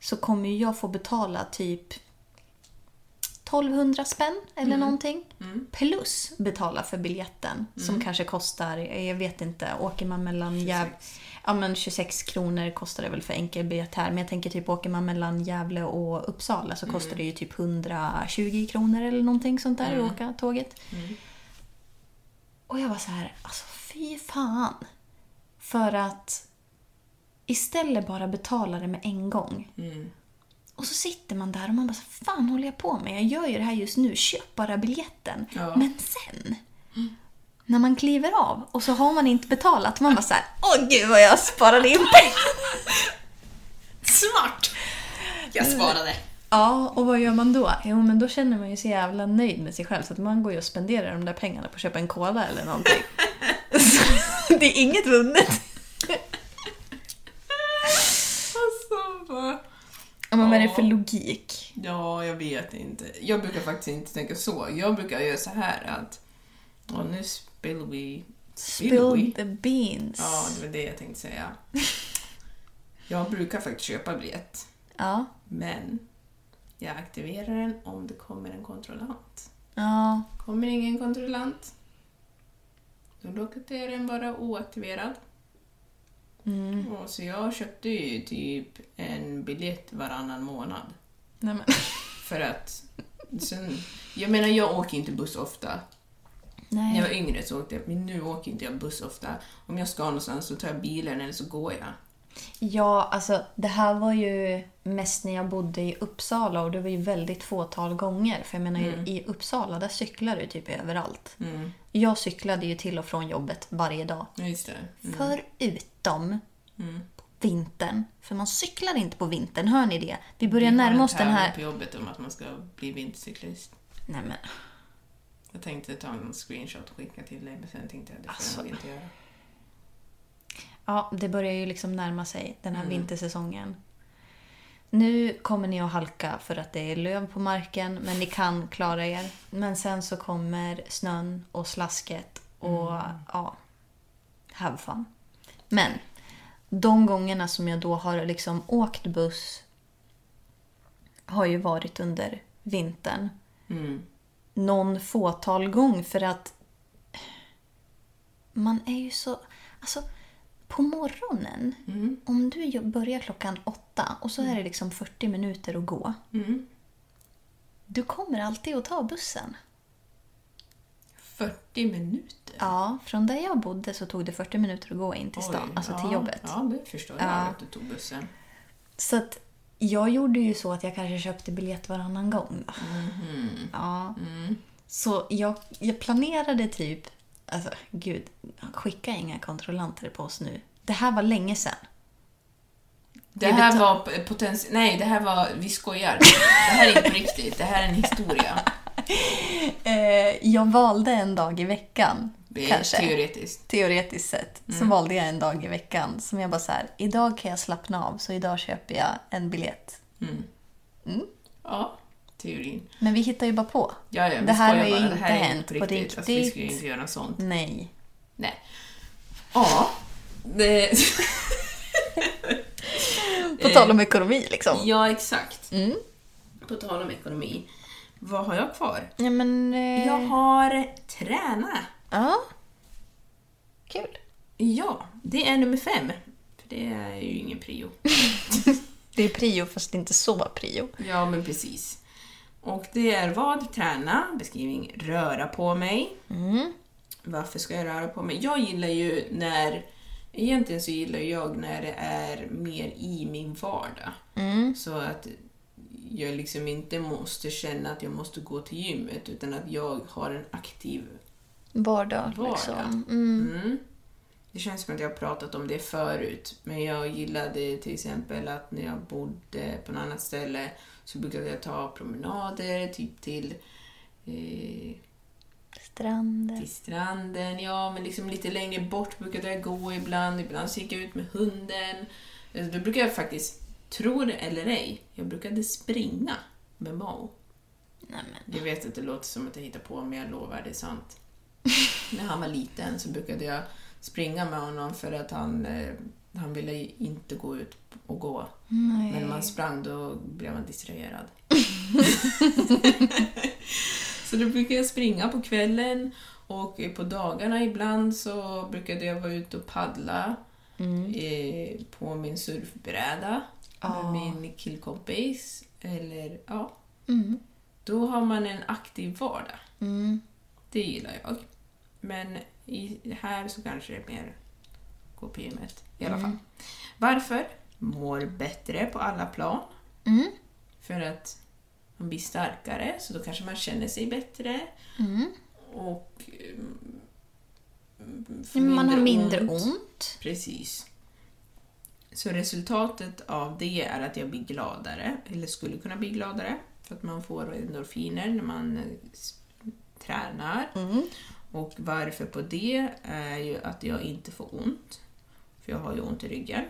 så kommer ju jag få betala typ 1200 spänn eller någonting. Plus betala för biljetten som kanske kostar, jag vet inte, åker man mellan Gävle... Ja men 26 kronor kostar det väl för enkelbiljett här. Men jag tänker typ åker man mellan Gävle och Uppsala så kostar det ju typ 120 kronor eller någonting sånt där att åka tåget. Och jag var så här, alltså fy fan. För att istället bara betala det med en gång. Och så sitter man där och man bara, så, fan håller jag på med? Jag gör ju det här just nu, köp bara biljetten.
Ja.
Men sen, när man kliver av och så har man inte betalat, man bara så här, åh gud vad jag sparade in pengar.
Smart! Jag sparade.
(laughs) Ja, och vad gör man då? Jo, men då känner man ju sig jävla nöjd med sig själv så att man går ju och spenderar de där pengarna på att köpa en cola eller någonting. (laughs) Så det är inget vunnet.
Alltså, vad...
Ja, men vad är det för logik?
Ja, jag vet inte. Jag brukar faktiskt inte tänka så. Jag brukar göra så här att... Ja, nu spill we...
Spill the beans.
Ja, det var det jag tänkte säga. Jag brukar faktiskt köpa biljett,
Ja.
men jag aktiverar den om det kommer en kontrollant.
Ja.
Kommer ingen kontrollant, då låter jag den vara oaktiverad.
Mm.
Och så jag köpte ju typ en biljett varannan månad.
Nej, men.
För att... Sen, jag menar, jag åker inte buss ofta. När jag var
Nej.
yngre så åkte jag, men nu åker inte jag buss ofta. Om jag ska någonstans så tar jag bilen eller så går jag.
Ja, alltså det här var ju mest när jag bodde i Uppsala och det var ju väldigt fåtal gånger. För jag menar i Uppsala där cyklar du typ överallt. Jag cyklade ju till och från jobbet varje dag.
Ja, just det.
Förutom på vintern. För man cyklar inte på vintern, hör ni det? Vi börjar närma oss den
på
här...
jobbet om att man ska bli vintercyklist.
Nej men,
Jag tänkte ta en screenshot och skicka till dig, men sen tänkte jag att det får
Alltså.
jag nog inte göra.
ja, det börjar ju liksom närma sig den här vintersäsongen. Nu kommer ni att halka för att det är löv på marken, men ni kan klara er. Men sen så kommer snön och slasket och ja, have fun. Men de gångerna som jag då har liksom åkt buss har ju varit under vintern. någon fåtal gång för att man är ju så... Alltså, på morgonen,
Mm.
om du jo- börjar klockan åtta och så är det liksom 40 minuter att gå.
Mm.
Du kommer alltid att ta bussen.
40 minuter?
Ja, från där jag bodde så tog det 40 minuter att gå in till stan, alltså till
ja,
jobbet.
Ja, det förstår jag att du tog bussen.
Så att jag gjorde ju så att jag kanske köpte biljett varannan gång. då.
Mhm.
Ja.
Mm.
Så jag, jag planerade typ, alltså gud, skicka inga kontrollanter på oss nu. Det här var länge sedan.
Det här var potens... Nej, det här var... Vi skojar. Det här är inte på riktigt. Det här är en historia.
Eh, jag valde en dag i veckan.
Det är
kanske.
teoretiskt.
Teoretiskt sett
Mm.
så valde jag en dag i veckan som jag bara så här, idag kan jag slappna av så idag köper jag en biljett.
Ja, teorin.
Men vi hittar ju bara på.
Ja, ja, vi
det här
skojar
har ju
bara.
inte
det här är
hänt
inte
på riktigt.
Alltså, vi skulle ju inte göra sånt.
Nej.
Nej. Ja. Det... (laughs)
På tal om ekonomi liksom.
Eh. ja, exakt.
Mm.
På tal om ekonomi. Vad har jag kvar?
Ja, men... Eh...
Jag har träna.
Ja. Kul.
Ja, det är nummer fem. För det är ju ingen prio.
Det är prio fast det är inte så prio.
Ja, men precis. Och det är vad? Träna, beskrivning, röra på mig. Varför ska jag röra på mig? Jag gillar ju när... Egentligen så gillar jag när det är mer i min vardag. Så att jag liksom inte måste känna att jag måste gå till gymmet utan att jag har en aktiv
Vardag
Vardag.
liksom. Mm.
Det känns som att jag har pratat om det förut, men jag gillade till exempel att när jag bodde på något annat ställe så brukade jag ta promenader typ till, eh,
Stranden.
till stranden, ja, men liksom lite längre bort Alltså, brukade jag gå ibland. Ibland så gick jag ut med hunden. Eh, Då brukade jag faktiskt Tro det eller ej, jag brukade springa med Mao.
Nej, men.
Jag vet att det låter som att jag hittar på, men jag lovar, det är
(laughs)
sant. När han var liten så brukade jag springa med honom för att han, eh, han ville inte gå ut och gå.
Nej.
Men när man sprang då blev man distraherad.
(laughs)
så då brukade jag springa på kvällen och på dagarna ibland så brukade jag vara ute och paddla
Mm.
eh, på min surfbräda
Ja.
med min killkompis. Eller, ja.
Mm.
Då har man en aktiv vardag.
Mm.
Det gillar jag. Men i, här så kanske det är mer gå på gymmet. I alla
Mm.
fall. Varför? Mår bättre på alla plan.
Mm.
För att man blir starkare, så då kanske man känner sig bättre.
Mm.
Och... mm, får
Men man har mindre ont.
Precis. Så resultatet av det är att jag blir gladare, eller skulle kunna bli gladare, för att man får endorfiner när man eh, s- tränar. Och varför på det är ju att jag inte får ont, för jag har ju ont i ryggen,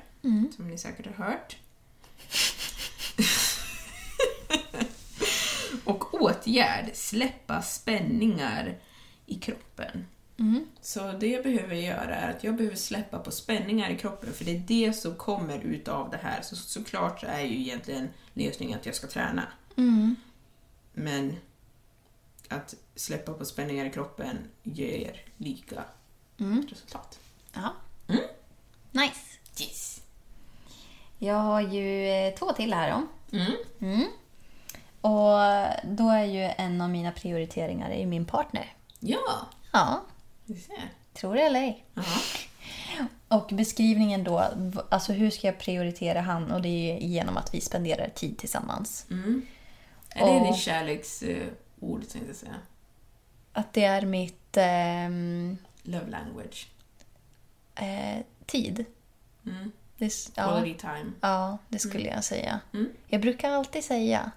som ni säkert har hört. och åtgärd, släppa spänningar i kroppen. Så det jag behöver göra är att jag behöver släppa på spänningar i kroppen för det är det som kommer ut av det här. Så såklart så är ju egentligen lösningen att jag ska träna.
Mm.
Men att släppa på spänningar i kroppen ger lika
Mm.
resultat.
Ja.
Mm.
Nice.
Yes.
Jag har ju eh, två till här då.
Mm.
Mm. Och då är ju en av mina prioriteringar är ju min partner.
Ja,
Ja,
det ser.
tror det eller ej.
Ja.
(laughs) Och beskrivningen då, v- alltså hur ska jag prioritera han? Och det är ju genom att vi spenderar tid tillsammans.
Mm. Är det
Och-
ditt kärleksord tänkte jag säga?
Att det är mitt ehm,
Love language.
eh, tid.
Mm.
Det, s- ja,
Quality time.
ja, det skulle jag säga.
Mm.
Jag brukar alltid säga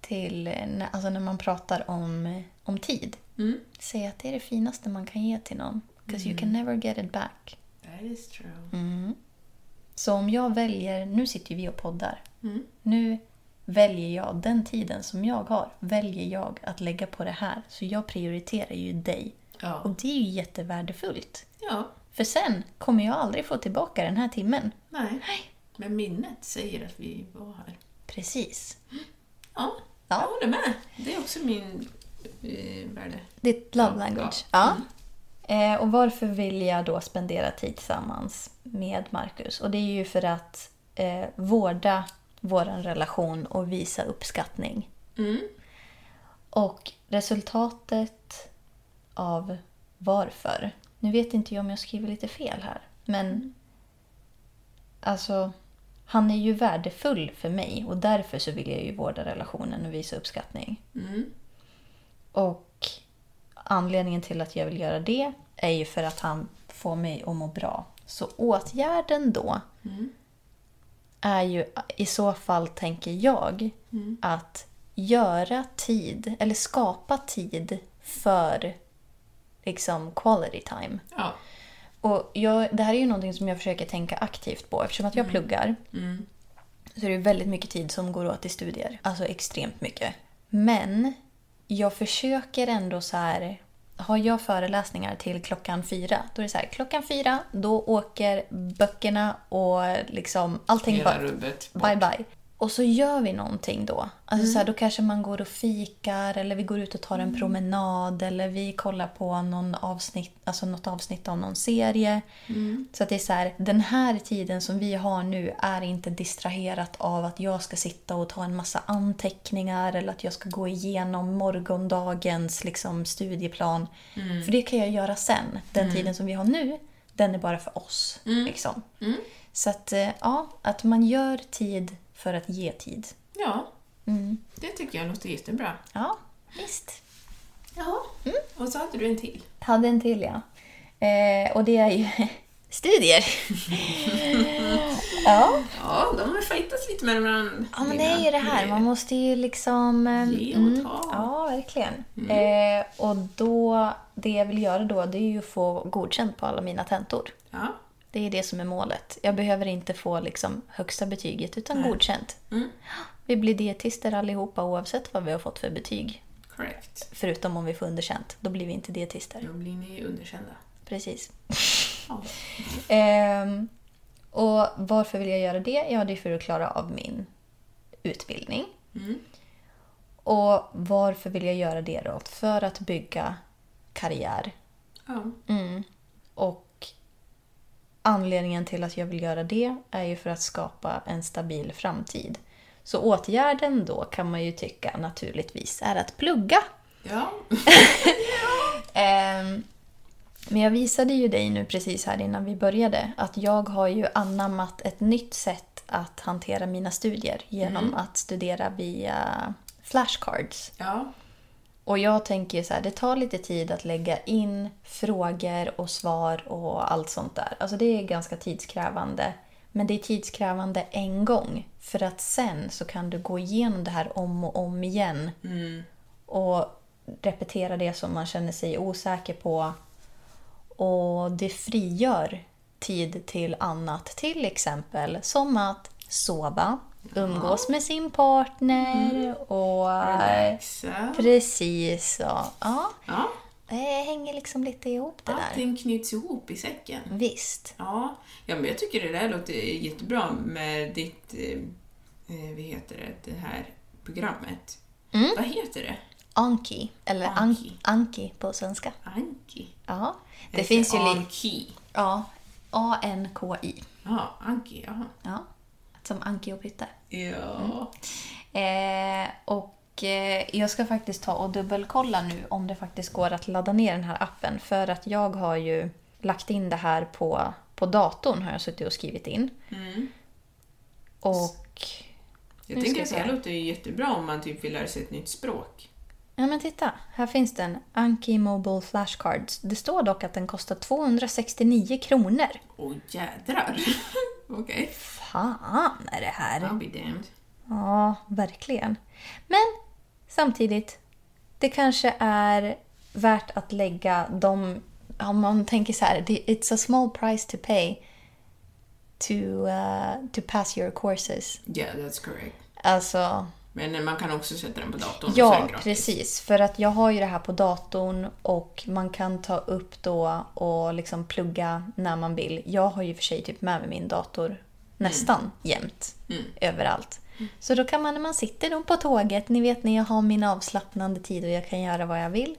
till, eh, när- alltså när man pratar om, om tid,
Mm.
säga att det är det finaste man kan ge till någon. Because
Mm.
you can never get it back.
That is true.
Mm. Så om jag väljer, nu sitter ju vi och poddar.
Mm.
Nu väljer jag den tiden som jag har, väljer jag att lägga på det här. Så jag prioriterar ju dig. Och
Ja.
det är ju jättevärdefullt.
ja.
För sen kommer jag aldrig få tillbaka den här timmen.
Nej.
Nej.
Men minnet säger att vi var här.
Precis.
Ja,
Ja.
jag håller med. Det är också min eh, värde.
Ditt love language. Ja. Eh, och varför vill jag då spendera tid tillsammans med Marcus? Och det är ju för att eh, vårda vår relation och visa uppskattning.
Mm.
Och resultatet av varför. Nu vet inte jag om jag skriver lite fel här. Men alltså, han är ju värdefull för mig och därför så vill jag ju vårda relationen och visa uppskattning.
Mm.
Och anledningen till att jag vill göra det är ju för att han får mig att må bra. Så åtgärden då är ju i så fall, tänker jag, att göra tid, eller skapa tid för liksom quality time.
Ja.
Och jag, det här är ju någonting som jag försöker tänka aktivt på eftersom att jag pluggar.
Mm.
Så är det väldigt mycket tid som går åt i studier. Alltså extremt mycket. Men jag försöker ändå så här... Har jag föreläsningar till klockan fyra, då är det så här, klockan fyra, då åker böckerna och liksom allting
Hela
bara-
rubbet.
Bye bye. Och så gör vi någonting då. Alltså så här, då kanske man går och fikar eller vi går ut och tar en promenad eller vi kollar på någon avsnitt, alltså något avsnitt av någon serie. Så att det är så här, den här tiden som vi har nu är inte distraherat av att jag ska sitta och ta en massa anteckningar eller att jag ska gå igenom morgondagens liksom, studieplan. För det kan jag göra sen. Den tiden som vi har nu, den är bara för oss. Liksom. Så att, eh, ja, att man gör tid för att ge tid.
Ja.
Mm.
Det tycker jag låter jättebra.
Ja, visst.
Jaha.
Mm.
Och så hade du en till.
Hade en till, ja. Eh, och det är ju (laughs) studier. ja.
Ja, de har fightats lite med varandra.
ja, men det är ju det här. Man måste ju liksom... eh,
Ge och ta.
ja, verkligen. Eh, och då, det jag vill göra då, det är ju att få godkänt på alla mina tentor.
Ja.
Det är det som är målet. Jag behöver inte få liksom högsta betyget utan godkänt. Vi blir dietister allihopa oavsett vad vi har fått för betyg.
Correct.
Förutom om vi får underkänt, då blir vi inte dietister.
Då blir ni ju underkända.
Precis.
Ja.
Ehm, och varför vill jag göra det? Ja, det är för att klara av min utbildning. Och varför vill jag göra det då? För att bygga karriär.
ja.
Och anledningen till att jag vill göra det är ju för att skapa en stabil framtid. Så åtgärden då kan man ju tycka naturligtvis är att plugga.
Ja.
Ehm, Men jag visade ju dig nu precis här innan vi började att jag har ju anammat ett nytt sätt att hantera mina studier genom att studera via flashcards.
ja.
Och jag tänker ju så här, det tar lite tid att lägga in frågor och svar och allt sånt där. Alltså det är ganska tidskrävande. Men det är tidskrävande en gång. För att sen så kan du gå igenom det här om och om igen. Och repetera det som man känner sig osäker på. Och det frigör tid till annat. Till exempel som att sova, umgås med sin partner och...
Relaxa.
Precis så. Ja,
Ja.
det hänger liksom lite ihop det där.
Allting knyts ihop i säcken.
Visst.
Ja, ja men jag tycker det där låter jättebra med ditt, eh, eh, vad heter det, det här programmet.
Mm.
Vad heter det?
Anki, eller
Anki.
Anki, Anki på svenska.
Anki?
Ja, det
Eller
finns ju lite...
Anki.
Ja, A-N-K-I.
Ja, Anki, jaha. Mm.
Ja, som Anki och Pytte.
Ja.
Eh, och eh, jag ska faktiskt ta och dubbelkolla nu om det faktiskt går att ladda ner den här appen. För att jag har ju lagt in det här på, på datorn har jag suttit och skrivit in. Mm. Och...
Jag
Nu
tänker
ska vi
att det här
se.
låter ju jättebra om man typ vill lära sig ett nytt språk.
Ja men titta, här finns den. Anki Mobile Flashcards. Det står dock att den kostar 269 kronor.
Åh jädrar! (laughs) Okej.
Fan är det här!
I'll be damned.
Ja, verkligen. Men samtidigt, det kanske är värt att lägga de... Om man tänker så här, det- it's a small price to pay to, uh, to pass your courses.
Yeah, that's correct.
Alltså,
Men eh, man kan också sätta den på datorn. så är
Ja,
den gratis.
precis. För att jag har ju det här på datorn och man kan ta upp då och liksom plugga när man vill. Jag har ju för sig typ med mig min dator nästan
Mm.
jämt. Överallt. Så då kan man när man sitter då på tåget, ni vet när jag har min avslappnande tid och jag kan göra vad jag vill.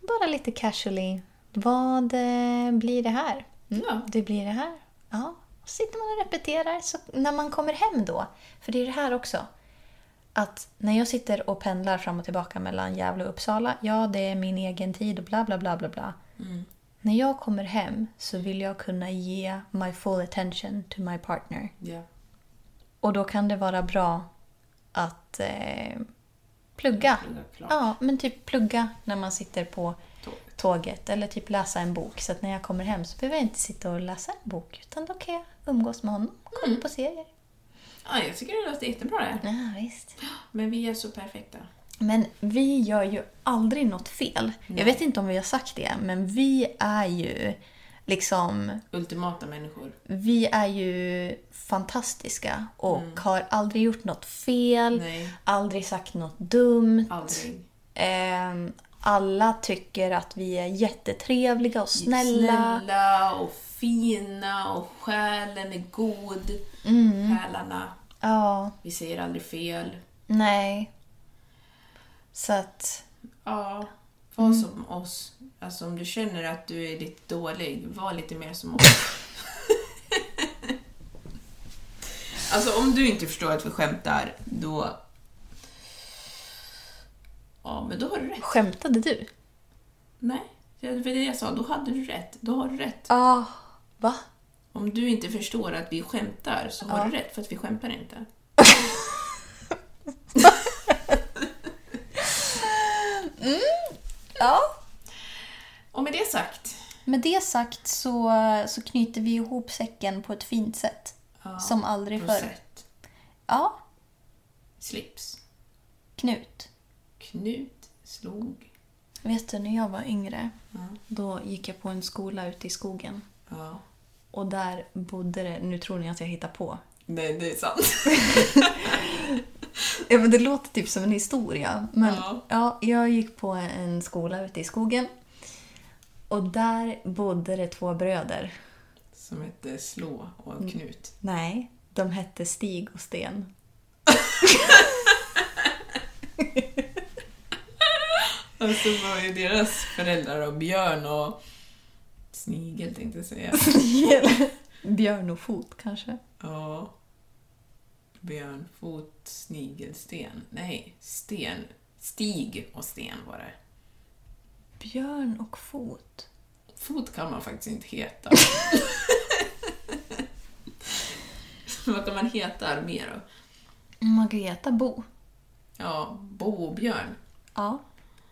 Bara lite casually. Vad eh, blir det här? Mm,
Ja.
Det blir det här. Ja. Och sitter man och repeterar så när man kommer hem då. För det är det här också att när jag sitter och pendlar fram och tillbaka mellan Gävle och Uppsala, ja det är min egen tid och bla bla bla bla bla. När jag kommer hem så vill jag kunna ge my full attention to my partner.
Ja.
Och då kan det vara bra att eh, plugga.
Plugga klart.
Ja, men typ plugga när man sitter på
Tåget.
tåget eller typ läsa en bok. Så att när jag kommer hem så behöver jag inte sitta och läsa en bok utan då kan jag umgås med honom, kolla
Mm.
på serier.
ja, jag tycker det låter jättebra det här.
Ja, visst.
Men vi är så perfekta.
Men vi gör ju aldrig något fel. Jag vet inte om vi har sagt det, men vi är ju liksom...
Ultimata människor.
Vi är ju fantastiska och har aldrig gjort något fel,
Mm. Nej.
aldrig sagt något dumt.
Aldrig.
Ehm, alla tycker att vi är jättetrevliga och snälla.
Snälla och fina och själen är god.
Mm.
Själarna.
Ja,
Vi säger aldrig fel.
nej. Så att...
Ja, var som oss. Alltså om du känner att du är lite dålig, var lite mer som oss. (laughs) alltså om du inte förstår att vi skämtar, då... Ja, men då har du rätt.
Skämtade du?
Nej, det var det jag sa. Då hade du rätt. Då har du rätt.
Ja. va?
Om du inte förstår att vi skämtar så har du rätt, för att vi skämtar inte.
Ja.
Och med det sagt,
Med det sagt så, så knyter vi ihop säcken på ett fint sätt. som aldrig förr.
rosett,
Ja,
slips,
Knut.
knut, slog.
Vet du, när jag var yngre, då gick jag på en skola ute i skogen.
Ja.
Och där bodde det, nu tror ni att jag hittar på.
Nej, det är sant.
Ja, men det låter typ som en historia. Men
Ja.
ja. jag gick på en skola ute i skogen. Och där bodde det två bröder.
Som hette Slå och Knut.
Nej, de hette Stig och (laughs) Sten.
Och så var ju deras föräldrar och Björn och Snigel tänkte jag (laughs) säga.
Björn och Fot kanske?
Ja. Björnfot, Snigelsten. Nej, Sten. Stig och Sten var det.
Björn och Fot?
Fot kan man faktiskt inte (laughs) heta. Vad kan man heta armé då?
Man kan heta Bo.
Ja, Bo och Björn.
Ja.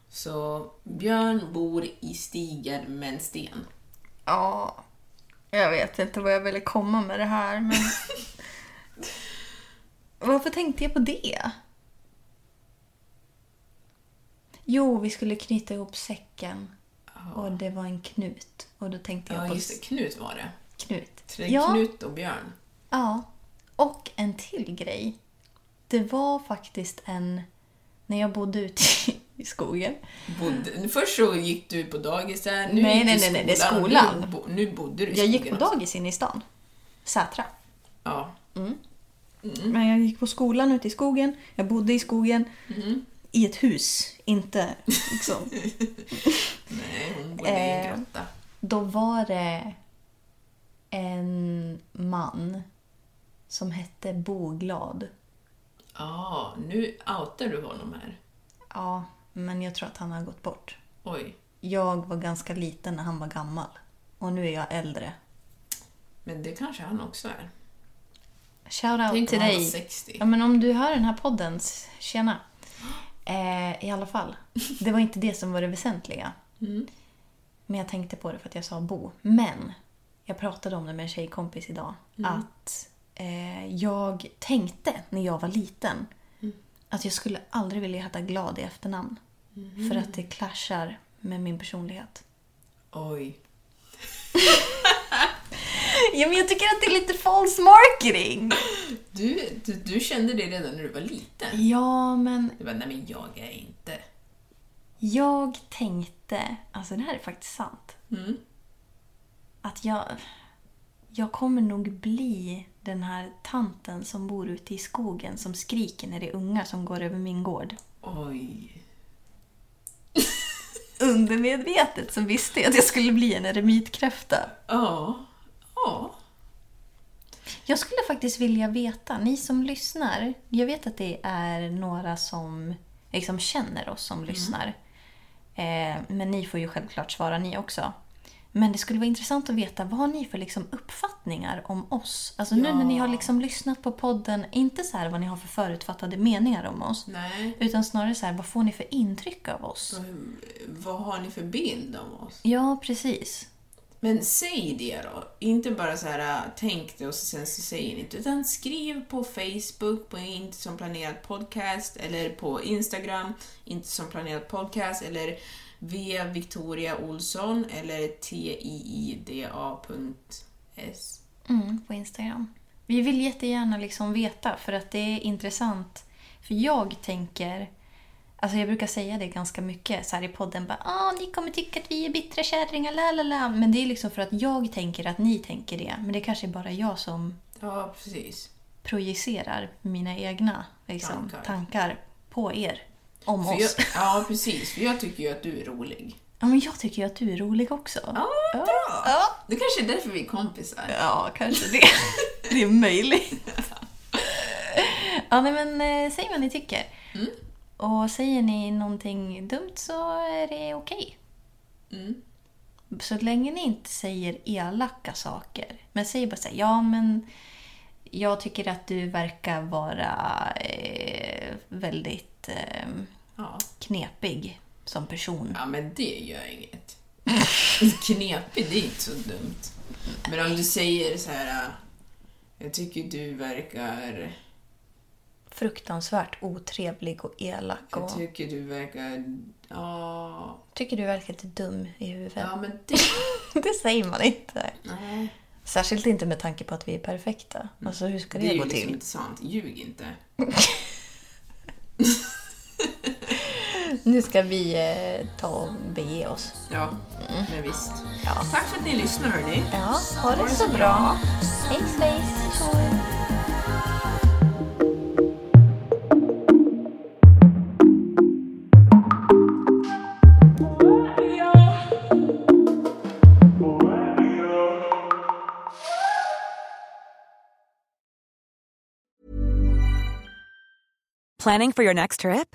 Så Björn bor i stigen med en sten.
Ja. Jag vet inte vad jag ville komma med det här, men...
(laughs)
Varför tänkte jag på det? Jo, vi skulle knyta ihop säcken. Och det var en knut. Och då tänkte jag
Ja,
på
just det. Knut var det.
knut.
Så det är
ja,
Knut och Björn.
ja. Och en till grej. Det var faktiskt en... När jag bodde ute i- i skogen.
Bodde, först så gick du på dagis där, nu
Nej,
gick du i
nej, nej, nej, det är
och Nu, bo, nu bodde du i
Jag gick på
skogen alltså.
dagis inne i stan. Sätra.
också. Ja.
Men jag gick på skolan ute i skogen. Jag bodde i skogen. I ett hus. Inte liksom. (laughs)
Nej, hon bodde i en
Eh.
grotta.
Då var det en man som hette Boglad.
Ja, nu outar du honom här.
Ja, men jag tror att han har gått bort.
Oj.
Jag var ganska liten när han var gammal. Och nu är jag äldre.
Men det kanske han också är.
Shoutout
Tänk
till
om han var
dig.
60.
Ja, men om du hör den här podden, s- tjena. Eh, I alla fall, det var inte det som var det väsentliga. Men jag tänkte på det för att jag sa bo. Men, jag pratade om det med en tjejkompis idag. Att eh, jag tänkte när jag var liten att jag skulle aldrig vilja heta Glad i efternamn. För att det clashar med min personlighet. (laughs)
Oj.
Ja, men jag tycker att det är lite false marketing!
Du, du, du kände det redan när du var liten.
Ja, men
Du bara, nej men jag är inte...
Jag tänkte, alltså det här är faktiskt sant, att jag, jag kommer nog bli den här tanten som bor ute i skogen som skriker när det är ungar som går över min gård.
Oj.
Undermedvetet så visste jag att jag skulle bli en eremitkräfta.
Ja. Ja.
Jag skulle faktiskt vilja veta, ni som lyssnar, jag vet att det är några som liksom känner oss som lyssnar. Eh, men ni får ju självklart svara ni också. Men det skulle vara intressant att veta, vad har ni för liksom uppfattningar om oss? Alltså nu när ni har liksom lyssnat på podden, inte så här vad ni har för förutfattade meningar om oss.
Nej.
Utan snarare så här, vad får ni för intryck av oss?
Vad har ni för bild om oss?
Ja, precis.
Men säg det då. Inte bara så här, äh, tänk det och så sen så säger ni inte. Utan skriv på Facebook, på Inte som planerat podcast, eller på Instagram, Inte som planerat podcast, eller V. Victoria Olsson, eller TIIDA.s.
Mm, på Instagram. Vi vill jättegärna liksom veta för att det är intressant. För jag tänker, alltså jag brukar säga det ganska mycket så här i podden, bara ah, ni kommer tycka att vi är bittra kärringar, la la la. Men det är liksom för att jag tänker att ni tänker det. Men det kanske är bara jag som
Ja, precis.
projicerar mina egna liksom,
Tankar.
tankar. på er. Om
För
oss.
jag, ja, precis. För jag tycker ju att du är rolig.
Ja, men jag tycker ju att du är rolig också.
Ja, vad bra! Det kanske är därför vi är kompisar.
Ja, kanske det. (laughs) Det är möjligt. Ja, nej, men eh, säg vad ni tycker.
Mm.
Och säger ni någonting dumt så är det okej.
Mm.
Så länge ni inte säger elaka saker. Men säg bara såhär, ja men jag tycker att du verkar vara eh, väldigt eh,
Ja.
knepig som person.
Ja, men det gör inget. Knepig, det är inte så dumt. Men om du säger så här... äh, Jag tycker du verkar...
Fruktansvärt otrevlig och elak.
Jag
Och
tycker du verkar... Ja,
tycker du verkar lite dum i huvudet. (laughs)
ja men det...
Det säger man inte. Särskilt inte med tanke på att vi är perfekta. Alltså hur ska det,
Mm. Det är ju liksom
gå till?
inte sant. Ljug inte.
Nu ska vi eh, ta och bege oss.
Ja, men visst.
Mm. Ja.
Tack för att ni lyssnar hörni.
Ja, ha det så bra. Hej svejs!
Planning for your next trip?